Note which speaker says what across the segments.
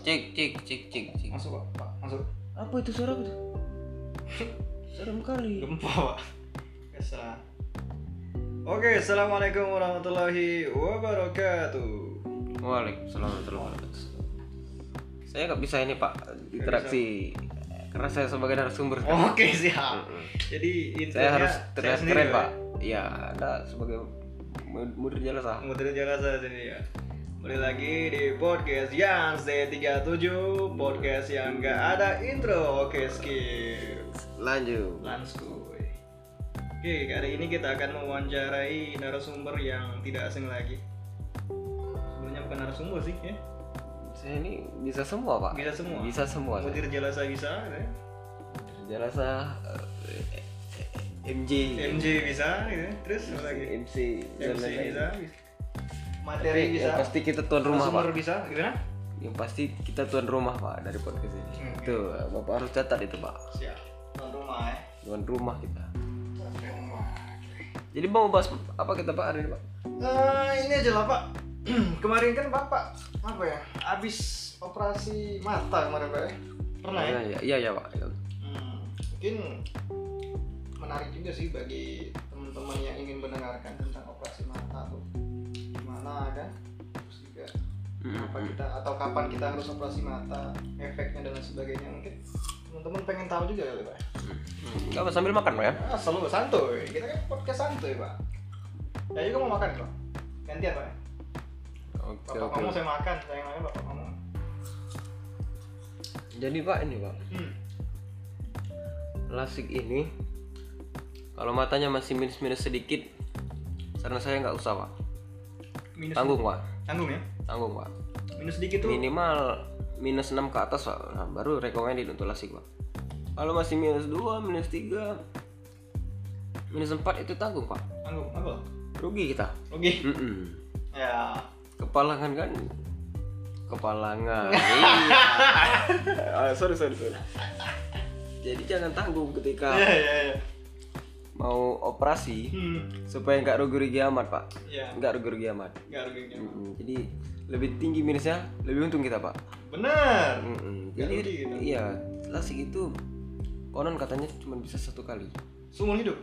Speaker 1: cik cik cik cik cik
Speaker 2: Masuk pak, pak. Masuk.
Speaker 3: Apa itu suara apa tuh? Serem kali.
Speaker 2: Gempa pak. Biasa. Oke, assalamualaikum warahmatullahi wabarakatuh.
Speaker 1: Waalaikumsalam warahmatullahi wabarakatuh. Saya nggak bisa ini pak interaksi karena saya sebagai narasumber. sekarang.
Speaker 2: Oke siap.
Speaker 1: Mm-mm.
Speaker 2: Jadi
Speaker 1: Saya
Speaker 2: intinya
Speaker 1: harus terlihat
Speaker 2: sendiri,
Speaker 1: keren
Speaker 2: ya.
Speaker 1: pak. Iya, anda sebagai mu- mudir jasa.
Speaker 2: Muterin jalan saya sini ya. Kembali lagi di podcast yang C37 Podcast yang gak ada intro Oke skip
Speaker 1: Lanjut.
Speaker 2: Lansku Oke kali ini kita akan mewawancarai narasumber yang tidak asing lagi Sebenarnya bukan narasumber sih ya
Speaker 1: Saya ini bisa semua pak.
Speaker 2: Bisa semua.
Speaker 1: Bisa semua. Iya. saya.
Speaker 2: Mudir jelas bisa ya.
Speaker 1: Jalasa eh, eh, MJ
Speaker 2: MJ bisa gitu. Terus apa lagi
Speaker 1: MC
Speaker 2: MC
Speaker 1: Jalasa.
Speaker 2: bisa Materi
Speaker 1: Iya, Tapi
Speaker 2: bisa
Speaker 1: yang pasti kita tuan rumah
Speaker 2: Narasumber
Speaker 1: pak.
Speaker 2: bisa gimana?
Speaker 1: Yang pasti kita tuan rumah pak dari podcast ini.
Speaker 2: Hmm.
Speaker 1: Itu bapak harus catat itu pak.
Speaker 2: Siap Tuan rumah ya
Speaker 1: Tuan rumah kita.
Speaker 2: Tuan rumah
Speaker 1: Jadi mau bahas apa kita pak hari ini pak?
Speaker 2: Eh, ini aja lah pak kemarin kan bapak apa ya abis operasi mata kemarin pak ya pernah ya
Speaker 1: Iya iya ya, pak.
Speaker 2: Hmm, mungkin menarik juga sih bagi teman-teman yang ingin mendengarkan tentang operasi mata tuh gimana kan terus juga apa
Speaker 1: Hmm.
Speaker 2: kita atau kapan kita harus operasi mata efeknya dan lain sebagainya mungkin teman-teman pengen tahu juga kali pak
Speaker 1: Gak apa sambil makan pak ya?
Speaker 2: ah, selalu santuy kita kan podcast santuy pak saya juga mau makan pak gantian pak ya Bapak
Speaker 1: Oke Ya, oke.
Speaker 2: kamu saya makan, saya yang lain bapak kamu.
Speaker 1: Jadi pak ini pak,
Speaker 2: Hmm.
Speaker 1: lasik ini kalau matanya masih minus-minus sedikit, saran saya nggak usah pak.
Speaker 2: Minus
Speaker 1: Tanggung pak,
Speaker 2: Tanggung ya?
Speaker 1: tanggung pak.
Speaker 2: Minus sedikit tuh.
Speaker 1: minimal minus 6 ke atas pak nah, baru recommended untuk lasik pak kalau masih minus 2 minus 3 minus 4 itu tanggung pak
Speaker 2: Tanggung apa?
Speaker 1: rugi kita
Speaker 2: Rugi.
Speaker 1: Mm-mm.
Speaker 2: Ya.
Speaker 1: kepalangan kan kepalangan iya. Ah, sorry sorry sorry jadi jangan tanggung
Speaker 2: Iya
Speaker 1: ketika
Speaker 2: iya iya.
Speaker 1: mau operasi
Speaker 2: Hmm.
Speaker 1: supaya nggak rugi-rugi amat pak
Speaker 2: Ya.
Speaker 1: nggak rugi-rugi amat
Speaker 2: Gak rugi gak.
Speaker 1: Mm-mm. jadi lebih tinggi minusnya lebih untung kita pak
Speaker 2: Bener.
Speaker 1: Mm-mm.
Speaker 2: Nggak
Speaker 1: Jadi
Speaker 2: rugi gitu.
Speaker 1: iya, lasik itu konon katanya cuma bisa satu kali
Speaker 2: Seumur hidup.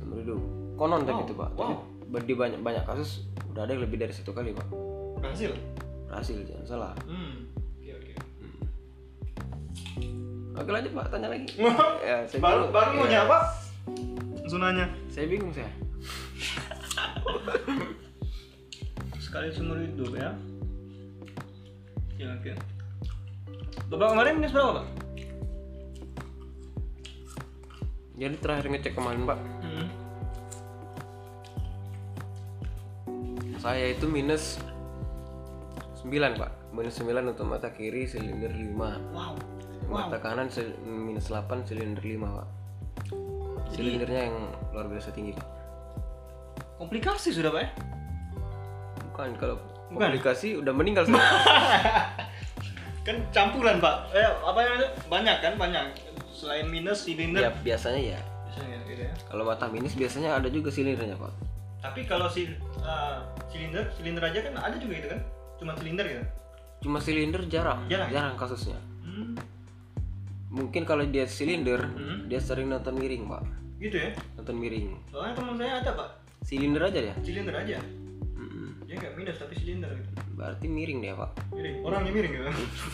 Speaker 1: seumur hidup. Konon
Speaker 2: Wow,
Speaker 1: tapi itu pak. Tapi
Speaker 2: wow.
Speaker 1: ber- di banyak banyak kasus udah ada yang lebih dari satu kali pak.
Speaker 2: Berhasil.
Speaker 1: Berhasil jangan salah.
Speaker 2: Hmm. Oke oke.
Speaker 1: Oke lanjut pak, tanya lagi. Ya, saya
Speaker 2: baru
Speaker 1: bingung.
Speaker 2: baru mau
Speaker 1: Ya,
Speaker 2: nyapa? Langsung nanya.
Speaker 1: Saya bingung saya.
Speaker 2: Sekali seumur hidup ya. Ya oke. Bapak kemarin minus berapa pak?
Speaker 1: Jadi terakhir ngecek kemarin pak,
Speaker 2: Hmm.
Speaker 1: saya itu minus 9 pak minus 9 untuk mata kiri silinder 5
Speaker 2: Wow.
Speaker 1: mata kanan sil- minus 8 silinder 5 pak silindernya yang luar biasa tinggi pak
Speaker 2: Komplikasi sudah pak ya?
Speaker 1: Bukan kalau
Speaker 2: Bukan.
Speaker 1: komplikasi udah meninggal semua.
Speaker 2: kan campuran pak eh apa yang ada? banyak kan banyak selain minus
Speaker 1: ya
Speaker 2: silinder
Speaker 1: biasanya ya.
Speaker 2: Biasanya gitu ya.
Speaker 1: Kalau mata minus biasanya ada juga silindernya pak.
Speaker 2: tapi kalau si eh, silinder silinder aja kan ada juga gitu kan cuma silinder gitu
Speaker 1: Cuma silinder jarang,
Speaker 2: Jarang ya?
Speaker 1: kasusnya.
Speaker 2: hmm.
Speaker 1: Mungkin kalau dia silinder,
Speaker 2: Hmm.
Speaker 1: dia sering nonton miring pak,
Speaker 2: gitu ya
Speaker 1: nonton miring.
Speaker 2: soalnya teman saya ada pak
Speaker 1: Silinder aja dia.
Speaker 2: silinder aja
Speaker 1: Mm-mm.
Speaker 2: dia nggak minus tapi silinder gitu
Speaker 1: Berarti miring dia pak.
Speaker 2: miring orangnya miring gitu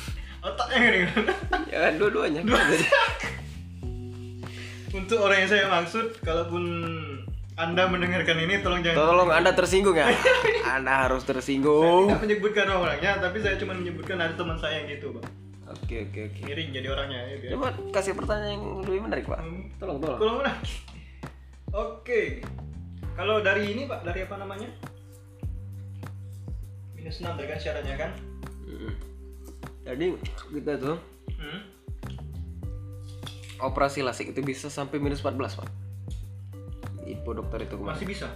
Speaker 2: otaknya miring
Speaker 1: ya kan dua-duanya. Jadi,
Speaker 2: untuk orang yang saya maksud kalaupun anda mendengarkan ini tolong jangan
Speaker 1: Tolong anda tersinggung ya. Anda harus tersinggung.
Speaker 2: Saya tidak menyebutkan orangnya tapi saya cuma menyebutkan ada teman saya yang gitu pak
Speaker 1: Oke oke oke.
Speaker 2: miring jadi orangnya gitu ya.
Speaker 1: Coba kasih pertanyaan yang lebih menarik pak.
Speaker 2: Hmm.
Speaker 1: Tolong tolong.
Speaker 2: Kolam renang. Oke. Kalau dari ini Pak, dari apa namanya? Minus 6 tadi kan syaratnya kan?
Speaker 1: Mm-mm. Hmm. Jadi kita tuh
Speaker 2: Hmm.
Speaker 1: operasi lasik itu bisa sampai minus 14 pak info dokter itu kemarin
Speaker 2: Masih bisa.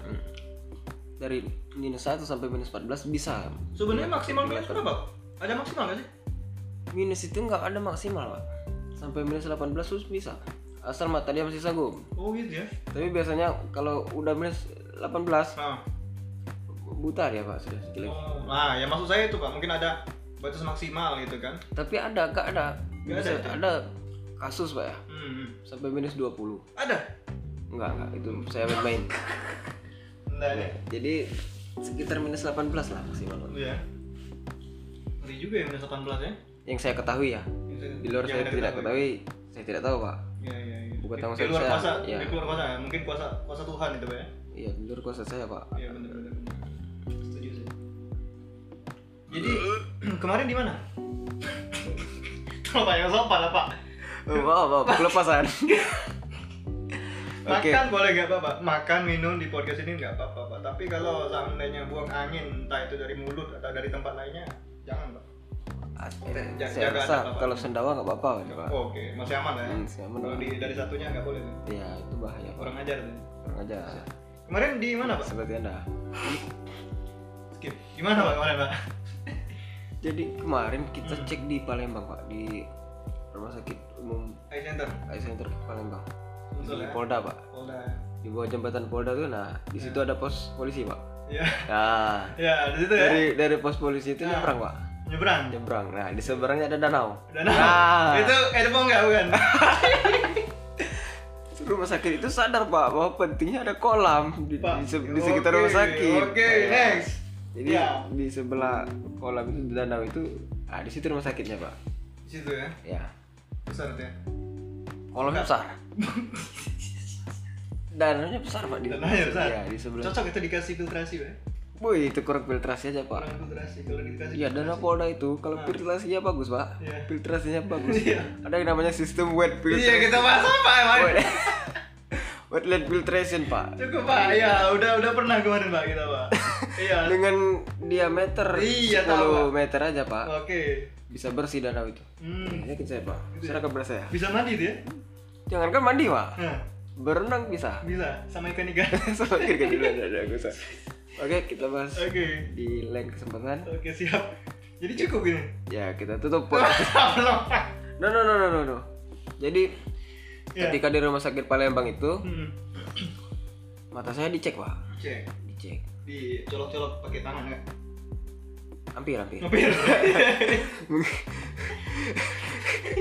Speaker 1: dari minus 1 sampai minus 14 bisa
Speaker 2: Sebenarnya
Speaker 1: Iya,
Speaker 2: maksimal
Speaker 1: iya,
Speaker 2: minus
Speaker 1: iya.
Speaker 2: berapa? Ada maksimal nggak sih?
Speaker 1: minus itu nggak ada maksimal pak sampai minus 18 terus bisa asal mata dia masih sanggup
Speaker 2: Oh gitu ya.
Speaker 1: tapi biasanya kalau udah minus 18
Speaker 2: Nah,
Speaker 1: buta dia pak sudah
Speaker 2: ya
Speaker 1: jelek
Speaker 2: oh. nah yang maksud saya itu Pak, mungkin ada batas maksimal gitu kan
Speaker 1: Tapi ada kak ada.
Speaker 2: Nggak ada,
Speaker 1: Bisa-
Speaker 2: Cak.
Speaker 1: ada kasus pak ya
Speaker 2: hmm.
Speaker 1: sampai minus 20
Speaker 2: ada
Speaker 1: Enggak enggak itu saya main.
Speaker 2: enggak ada
Speaker 1: Jadi sekitar minus 18 lah maksimal.
Speaker 2: ya ngeri juga ya minus 18 ya
Speaker 1: Yang saya ketahui ya.
Speaker 2: Itu
Speaker 1: Di
Speaker 2: yang
Speaker 1: luar saya
Speaker 2: ada ya?
Speaker 1: tidak
Speaker 2: ketahui.
Speaker 1: ketahui, saya tidak tahu pak.
Speaker 2: ya, ya, ya.
Speaker 1: Bukan
Speaker 2: Di-
Speaker 1: tanggung
Speaker 2: di
Speaker 1: jawab
Speaker 2: luar
Speaker 1: saya.
Speaker 2: kuasa
Speaker 1: Ya.
Speaker 2: di luar kuasa ya mungkin kuasa kuasa Tuhan itu pak ya
Speaker 1: Iya di luar kuasa saya pak.
Speaker 2: iya benar benar benar setuju saya jadi kemarin di mana kalau pak yang sopan lah pak
Speaker 1: Oh, maaf, maaf, kelepasan. Oke.
Speaker 2: makan boleh nggak apa-apa makan minum di podcast ini nggak apa-apa pak tapi kalau seandainya buang angin entah itu dari mulut atau dari tempat lainnya jangan pak Jaga-
Speaker 1: saya
Speaker 2: jaga ada
Speaker 1: rasa
Speaker 2: apa-apa.
Speaker 1: kalau sendawa nggak apa-apa kan pak.
Speaker 2: Oh, oke masih aman lah ya
Speaker 1: Hmm, saya
Speaker 2: kalau
Speaker 1: menang.
Speaker 2: di, dari satunya nggak boleh Pak.
Speaker 1: Iya itu bahaya pak.
Speaker 2: orang ajar tuh
Speaker 1: Kurang aja.
Speaker 2: kemarin di mana pak
Speaker 1: Seperti anda.
Speaker 2: skip di mana pak kemarin pak
Speaker 1: Jadi kemarin kita
Speaker 2: Hmm.
Speaker 1: cek di Palembang pak di rumah sakit umum
Speaker 2: eye center
Speaker 1: Eye Center Palembang
Speaker 2: Unsur
Speaker 1: di
Speaker 2: ya
Speaker 1: Polda pak.
Speaker 2: Polda
Speaker 1: Di bawah jembatan Polda tuh nah di situ ada pos polisi pak.
Speaker 2: ya
Speaker 1: Nah
Speaker 2: ya di situ ya
Speaker 1: dari dari pos polisi itu
Speaker 2: Nah.
Speaker 1: nyebrang pak.
Speaker 2: nyebrang
Speaker 1: Nyebrang. Nah di seberangnya ada danau.
Speaker 2: danau
Speaker 1: Nah.
Speaker 2: itu Edmond nggak bukan
Speaker 1: rumah sakit itu sadar pak bahwa pentingnya ada kolam di,
Speaker 2: Pak.
Speaker 1: di se- di sekitar
Speaker 2: Oke,
Speaker 1: rumah sakit.
Speaker 2: oke
Speaker 1: Nah,
Speaker 2: next
Speaker 1: Jadi
Speaker 2: Ya.
Speaker 1: di sebelah kolam itu di danau itu, ah di situ rumah sakitnya pak.
Speaker 2: di situ ya
Speaker 1: Ya,
Speaker 2: besar tuh ya
Speaker 1: kolamnya besar. Danaunya besar pak di.
Speaker 2: Danaunya besar?
Speaker 1: Ya di sebelah.
Speaker 2: cocok itu dikasih filtrasi pak
Speaker 1: Wih itu kurang filtrasi aja pak.
Speaker 2: orang filtrasi kalau dikasih
Speaker 1: Iya danau Polda itu kalau filtrasinya bagus pak.
Speaker 2: Nah. Iya.
Speaker 1: Filtrasinya bagus.
Speaker 2: Iya.
Speaker 1: Ada yang namanya sistem
Speaker 2: iya
Speaker 1: wet filtration.
Speaker 2: kita bahas apa emang
Speaker 1: Wet- Wetland filtration pak.
Speaker 2: cukup pak ya udah udah pernah kemarin pak kita pak iya
Speaker 1: Dengan diameter
Speaker 2: Iya,
Speaker 1: 10
Speaker 2: tahu, Pak.
Speaker 1: meter aja pak.
Speaker 2: oke
Speaker 1: bisa bersih danau itu
Speaker 2: hmm
Speaker 1: yakin saya pak serah kabar saya ya.
Speaker 2: bisa mandi dia
Speaker 1: jangankan mandi pak
Speaker 2: nah,
Speaker 1: berenang bisa
Speaker 2: bisa sama ikan ikan
Speaker 1: semakin ke dulu ada ada gua, Sa. oke kita bahas
Speaker 2: oke
Speaker 1: di lain kesempatan
Speaker 2: oke siap jadi cukup ini
Speaker 1: ya kita tutup podcast. no no no no no, no. jadi
Speaker 2: Ya.
Speaker 1: ketika di rumah sakit Palembang itu
Speaker 2: hmm.
Speaker 1: mata saya dicek pak
Speaker 2: cek
Speaker 1: dicek
Speaker 2: dicolok-colok pakai tangan ya
Speaker 1: hampir hampir
Speaker 2: ngepir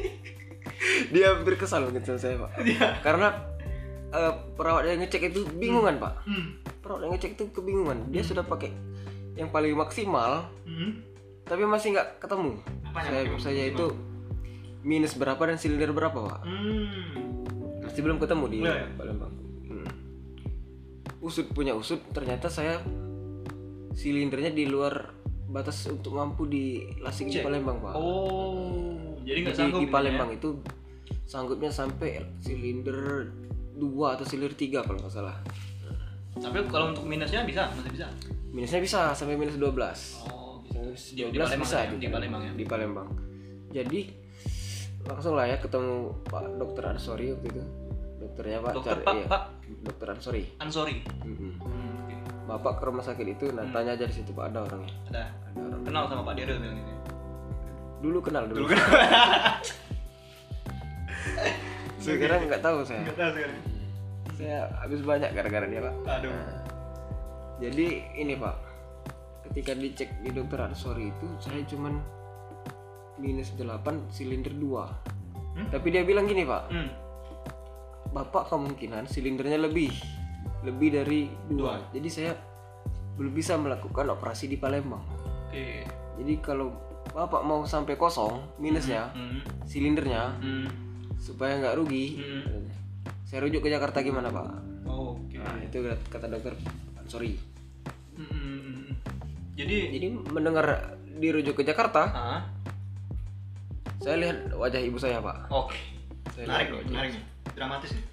Speaker 1: dia hampir kesal mungkin sama saya pak
Speaker 2: Iya.
Speaker 1: karena eh, perawat yang ngecek itu bingungan pak
Speaker 2: hmm.
Speaker 1: perawat yang ngecek itu kebingungan dia sudah pakai yang paling maksimal
Speaker 2: hmm.
Speaker 1: tapi masih nggak ketemu
Speaker 2: Apanya
Speaker 1: saya
Speaker 2: pakai
Speaker 1: saya
Speaker 2: maksimal?
Speaker 1: itu minus berapa dan silinder berapa pak
Speaker 2: hmm.
Speaker 1: masih belum ketemu di
Speaker 2: Iya, iya.
Speaker 1: Palembang Hmm. usut punya usut ternyata saya silindernya di luar batas untuk mampu di lasik di
Speaker 2: Cek.
Speaker 1: Palembang pak
Speaker 2: oh jadi nggak
Speaker 1: Jadi
Speaker 2: sanggup
Speaker 1: di
Speaker 2: ini, ya?
Speaker 1: Palembang itu sanggupnya sampai silinder 2 atau silinder 3 kalau nggak salah
Speaker 2: ya? tapi kalau untuk minusnya bisa masih bisa
Speaker 1: minusnya bisa sampai minus 12
Speaker 2: oh bisa
Speaker 1: Minus
Speaker 2: Di- di
Speaker 1: 12
Speaker 2: Palembang
Speaker 1: bisa kan?
Speaker 2: ya? Di Palembang ya?
Speaker 1: di Palembang jadi langsung lah ya ketemu Pak Dokter Ansori waktu itu dokternya Pak
Speaker 2: dokter
Speaker 1: cari-
Speaker 2: pak
Speaker 1: iya,
Speaker 2: pak
Speaker 1: Dokter Ansori
Speaker 2: Ansori
Speaker 1: Mm-mm.
Speaker 2: hmm, oke.
Speaker 1: bapak ke rumah sakit itu nah
Speaker 2: Hmm.
Speaker 1: tanya aja di situ Pak ada orangnya
Speaker 2: ada
Speaker 1: ada orang
Speaker 2: kenal sama Pak Daryl bilang gitu ya?
Speaker 1: dulu kenal dulu,
Speaker 2: Dulu kenal.
Speaker 1: sekarang nggak tahu saya
Speaker 2: Nggak tahu sekarang.
Speaker 1: saya habis banyak gara-gara dia Pak
Speaker 2: Aduh.
Speaker 1: Nah, jadi ini Pak ketika dicek di Dokter Ansori itu saya cuman minus 8 silinder 2
Speaker 2: Hmm?
Speaker 1: tapi dia bilang gini Pak
Speaker 2: Hmm.
Speaker 1: bapak kemungkinan silindernya lebih lebih dari dua. Jadi saya belum bisa melakukan operasi di Palembang.
Speaker 2: Oke.
Speaker 1: Jadi kalau bapak mau sampai kosong minusnya
Speaker 2: Hmm.
Speaker 1: silindernya
Speaker 2: Hmm.
Speaker 1: supaya nggak rugi,
Speaker 2: Hmm.
Speaker 1: katanya, saya rujuk ke Jakarta gimana pak?
Speaker 2: Oh, Oke.
Speaker 1: Nah itu kata dokter sorry.
Speaker 2: Hmm, hmm, hmm. Jadi
Speaker 1: Jadi mendengar dirujuk ke Jakarta,
Speaker 2: Hah?
Speaker 1: saya lihat wajah ibu saya pak.
Speaker 2: Oke. Menarik,
Speaker 1: Saya lihat
Speaker 2: nih,
Speaker 1: wajah,
Speaker 2: menarik nih. Dramatis nih.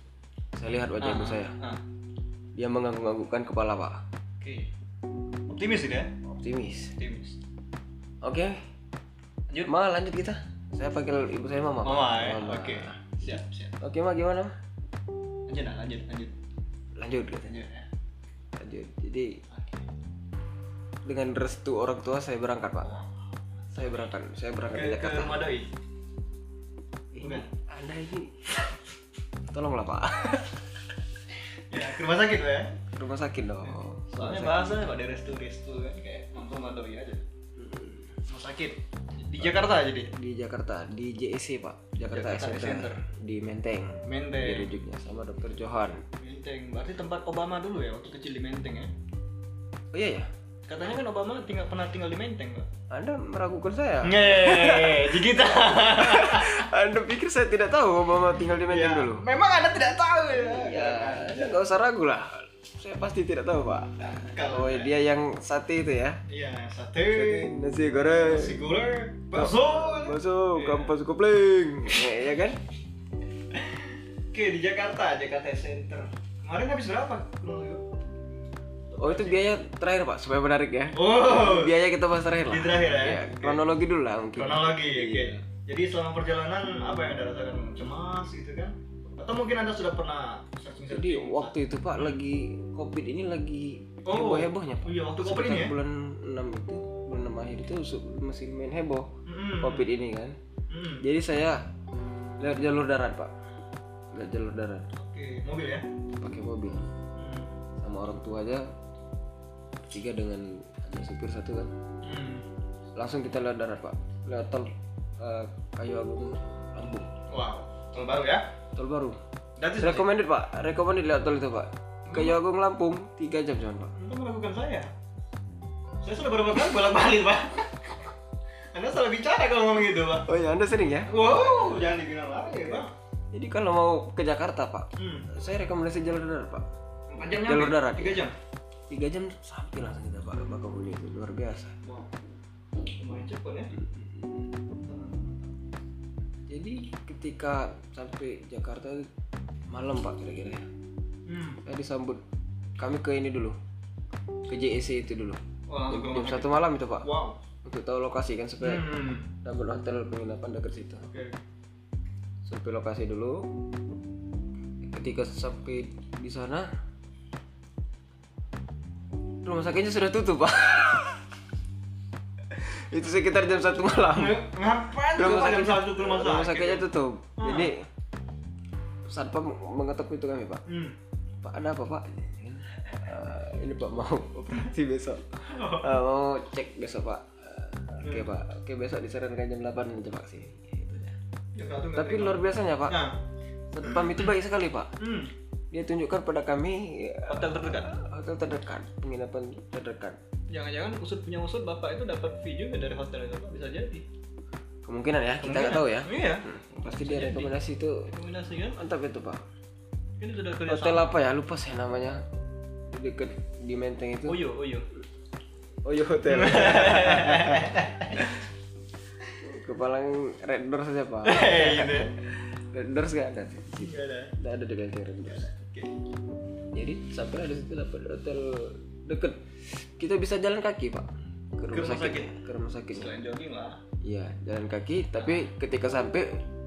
Speaker 1: saya lihat wajah ibu
Speaker 2: Ah,
Speaker 1: saya.
Speaker 2: ah, ah.
Speaker 1: Dia mengangguk-anggukkan kepala pak.
Speaker 2: Oke. Optimis ini ya?
Speaker 1: Optimis.
Speaker 2: Optimis.
Speaker 1: Oke,
Speaker 2: Lanjut.
Speaker 1: Ma lanjut kita. Saya panggil ibu saya Mama. Pak.
Speaker 2: Mama ya.
Speaker 1: Mama.
Speaker 2: Oke. Siap, siap.
Speaker 1: Oke, Ma gimana? Ma?
Speaker 2: Lanjut, nah, lanjut, lanjut.
Speaker 1: Lanjut katanya.
Speaker 2: Lanjut. ya.
Speaker 1: Lanjut. Jadi
Speaker 2: Oke.
Speaker 1: dengan restu orang tua saya berangkat, Pak.
Speaker 2: Wah.
Speaker 1: Saya berangkat. Saya berangkat
Speaker 2: Ke,
Speaker 1: ke
Speaker 2: ke
Speaker 1: Jakarta.
Speaker 2: rumah doi.
Speaker 1: Ini
Speaker 2: bukan.
Speaker 1: Anda ini Tolonglah, Pak.
Speaker 2: Ya, ke rumah sakit lah ya.
Speaker 1: Ke Rumah sakit dong.
Speaker 2: Soalnya bahasanya pada restu restu kan kayak mampu sama doi aja. Rumah sakit. di Jakarta jadi
Speaker 1: di Jakarta di JSC pak Jakarta,
Speaker 2: Jakarta
Speaker 1: Eye Center.
Speaker 2: Center.
Speaker 1: di Menteng
Speaker 2: Menteng.
Speaker 1: dirujuknya sama dokter Johan
Speaker 2: Menteng berarti tempat Obama dulu ya waktu kecil di Menteng ya
Speaker 1: oh iya ya
Speaker 2: katanya kan Obama tinggal pernah tinggal di Menteng pak
Speaker 1: anda meragukan saya
Speaker 2: Nge, di kita.
Speaker 1: anda pikir saya tidak tahu Obama tinggal
Speaker 2: Iya.
Speaker 1: di Menteng dulu
Speaker 2: Memang Anda tidak tahu ya.
Speaker 1: ya anda nggak usah ragu lah saya pasti tidak tahu pak
Speaker 2: Kalau ya.
Speaker 1: oh dia yang sate itu ya
Speaker 2: iya sate,
Speaker 1: nasi goreng
Speaker 2: nasi goreng, bakso.
Speaker 1: bakso kampus kopling ya, ya kan
Speaker 2: Oke di Jakarta, Jakarta Center. Kemarin habis berapa? Lo, yuk.
Speaker 1: oh itu biaya terakhir pak supaya menarik ya
Speaker 2: Oh,
Speaker 1: biaya kita bahas terakhir lah
Speaker 2: Di
Speaker 1: Iya,
Speaker 2: terakhir ya? Oke.
Speaker 1: kronologi dulu lah mungkin
Speaker 2: kronologi. Oke.
Speaker 1: Iya.
Speaker 2: Jadi selama perjalanan apa yang Anda rasakan? Cemas gitu kan? Atau mungkin Anda sudah pernah searching
Speaker 1: Jadi waktu itu Pak lagi COVID ini lagi
Speaker 2: Oh.
Speaker 1: heboh-hebohnya Pak.
Speaker 2: Iya, waktu COVID
Speaker 1: Sekitar
Speaker 2: ini ya?
Speaker 1: bulan 6 itu, bulan 6 akhir itu su- masih main heboh
Speaker 2: Mm-mm.
Speaker 1: COVID ini kan.
Speaker 2: Mm.
Speaker 1: Jadi saya lewat jalur darat Pak. Lewat jalur darat
Speaker 2: Oke, mobil ya.
Speaker 1: pakai mobil
Speaker 2: Mm.
Speaker 1: sama orang tua aja tiga dengan ada supir satu kan.
Speaker 2: Mm.
Speaker 1: Langsung kita lewat darat Pak. Lewat tol eh, Kayu Agung Lampung.
Speaker 2: Wow, tahun baru ya?
Speaker 1: Tol baru.
Speaker 2: That is
Speaker 1: Recommended Pak. Recommended lewat tol itu Pak. Kayu Agung Lampung 3 jam cuman Pak.
Speaker 2: Anda meragukan saya. Saya sudah berapa kali bolak-balik, Pak. Anda salah bicara kalau ngomong gitu, Pak.
Speaker 1: Oh ya, Anda sering ya?
Speaker 2: Wow, jangan dibilang lagi,
Speaker 1: Iya.
Speaker 2: Pak.
Speaker 1: Jadi kalau mau ke Jakarta pak,
Speaker 2: Hmm.
Speaker 1: saya rekomendasi jalur darat pak.
Speaker 2: Empat jam nyampe?
Speaker 1: Jalur darat.
Speaker 2: Tiga jam.
Speaker 1: Tiga jam sampai langsung kita pak Bakahuni itu luar biasa.
Speaker 2: Wow. Lumayan cepat ya.
Speaker 1: Jadi ketika sampai Jakarta malam pak kira-kira ya,
Speaker 2: Hmm.
Speaker 1: saya disambut. Kami ke ini dulu, ke JEC itu dulu.
Speaker 2: Wah,
Speaker 1: Jam,
Speaker 2: langsung
Speaker 1: jam
Speaker 2: ke
Speaker 1: satu malam itu pak,
Speaker 2: Wow.
Speaker 1: untuk tahu lokasi kan supaya
Speaker 2: Hmm.
Speaker 1: dapat hotel penginapan dekat situ.
Speaker 2: Oke.
Speaker 1: Sampai lokasi dulu. Ketika sampai di sana, rumah sakitnya sudah tutup pak. Itu sekitar jam satu malam.
Speaker 2: Nge- Ngapain gitu? tuh Pak, jam satu ke rumah sakit?
Speaker 1: rumah sakitnya tutup. Jadi satpam mengetuk pintu kami pak.
Speaker 2: Hmm.
Speaker 1: Pak ada apa pak? Eh, ini pak mau operasi besok. Eh, mau cek besok pak. Eh, Oke pak. Oke besok disarankan jam 8 aja pak sini. Gitu ya.
Speaker 2: Jam satu nggak
Speaker 1: Tapi
Speaker 2: terima.
Speaker 1: luar biasanya pak.
Speaker 2: Nah.
Speaker 1: Satpam itu baik sekali pak.
Speaker 2: Hmm.
Speaker 1: Dia tunjukkan pada kami ya,
Speaker 2: Hotel terdekat.
Speaker 1: hotel terdekat, penginapan terdekat.
Speaker 2: Jangan-jangan usut punya usut bapak itu dapat fee juga dari hotel itu Pak bisa jadi.
Speaker 1: Kemungkinan ya, kita nggak tahu ya.
Speaker 2: Iya.
Speaker 1: Pasti dia
Speaker 2: Jadi.
Speaker 1: rekomendasi itu
Speaker 2: Rekomendasi kan?
Speaker 1: mantap itu pak.
Speaker 2: Ini sudah kerja
Speaker 1: Hotel apa ya? Lupa saya namanya. Di Dekat di Menteng itu.
Speaker 2: Oyo, Oyo.
Speaker 1: Oyo Hotel. Kepalang Red Doors saja pak.
Speaker 2: Hei, gitu ya.
Speaker 1: Red Doors nggak ada di situ.
Speaker 2: Gak ada.
Speaker 1: Nggak ada di Menteng Red Doors.
Speaker 2: Oke.
Speaker 1: Jadi sampai ada situ dapat hotel deket. Kita bisa jalan kaki pak ke rumah,
Speaker 2: rumah
Speaker 1: sakit.
Speaker 2: sakit?
Speaker 1: Ke rumah sakit.
Speaker 2: Selain jogging lah.
Speaker 1: Iya jalan kaki. Tapi
Speaker 2: Iya.
Speaker 1: ketika sampai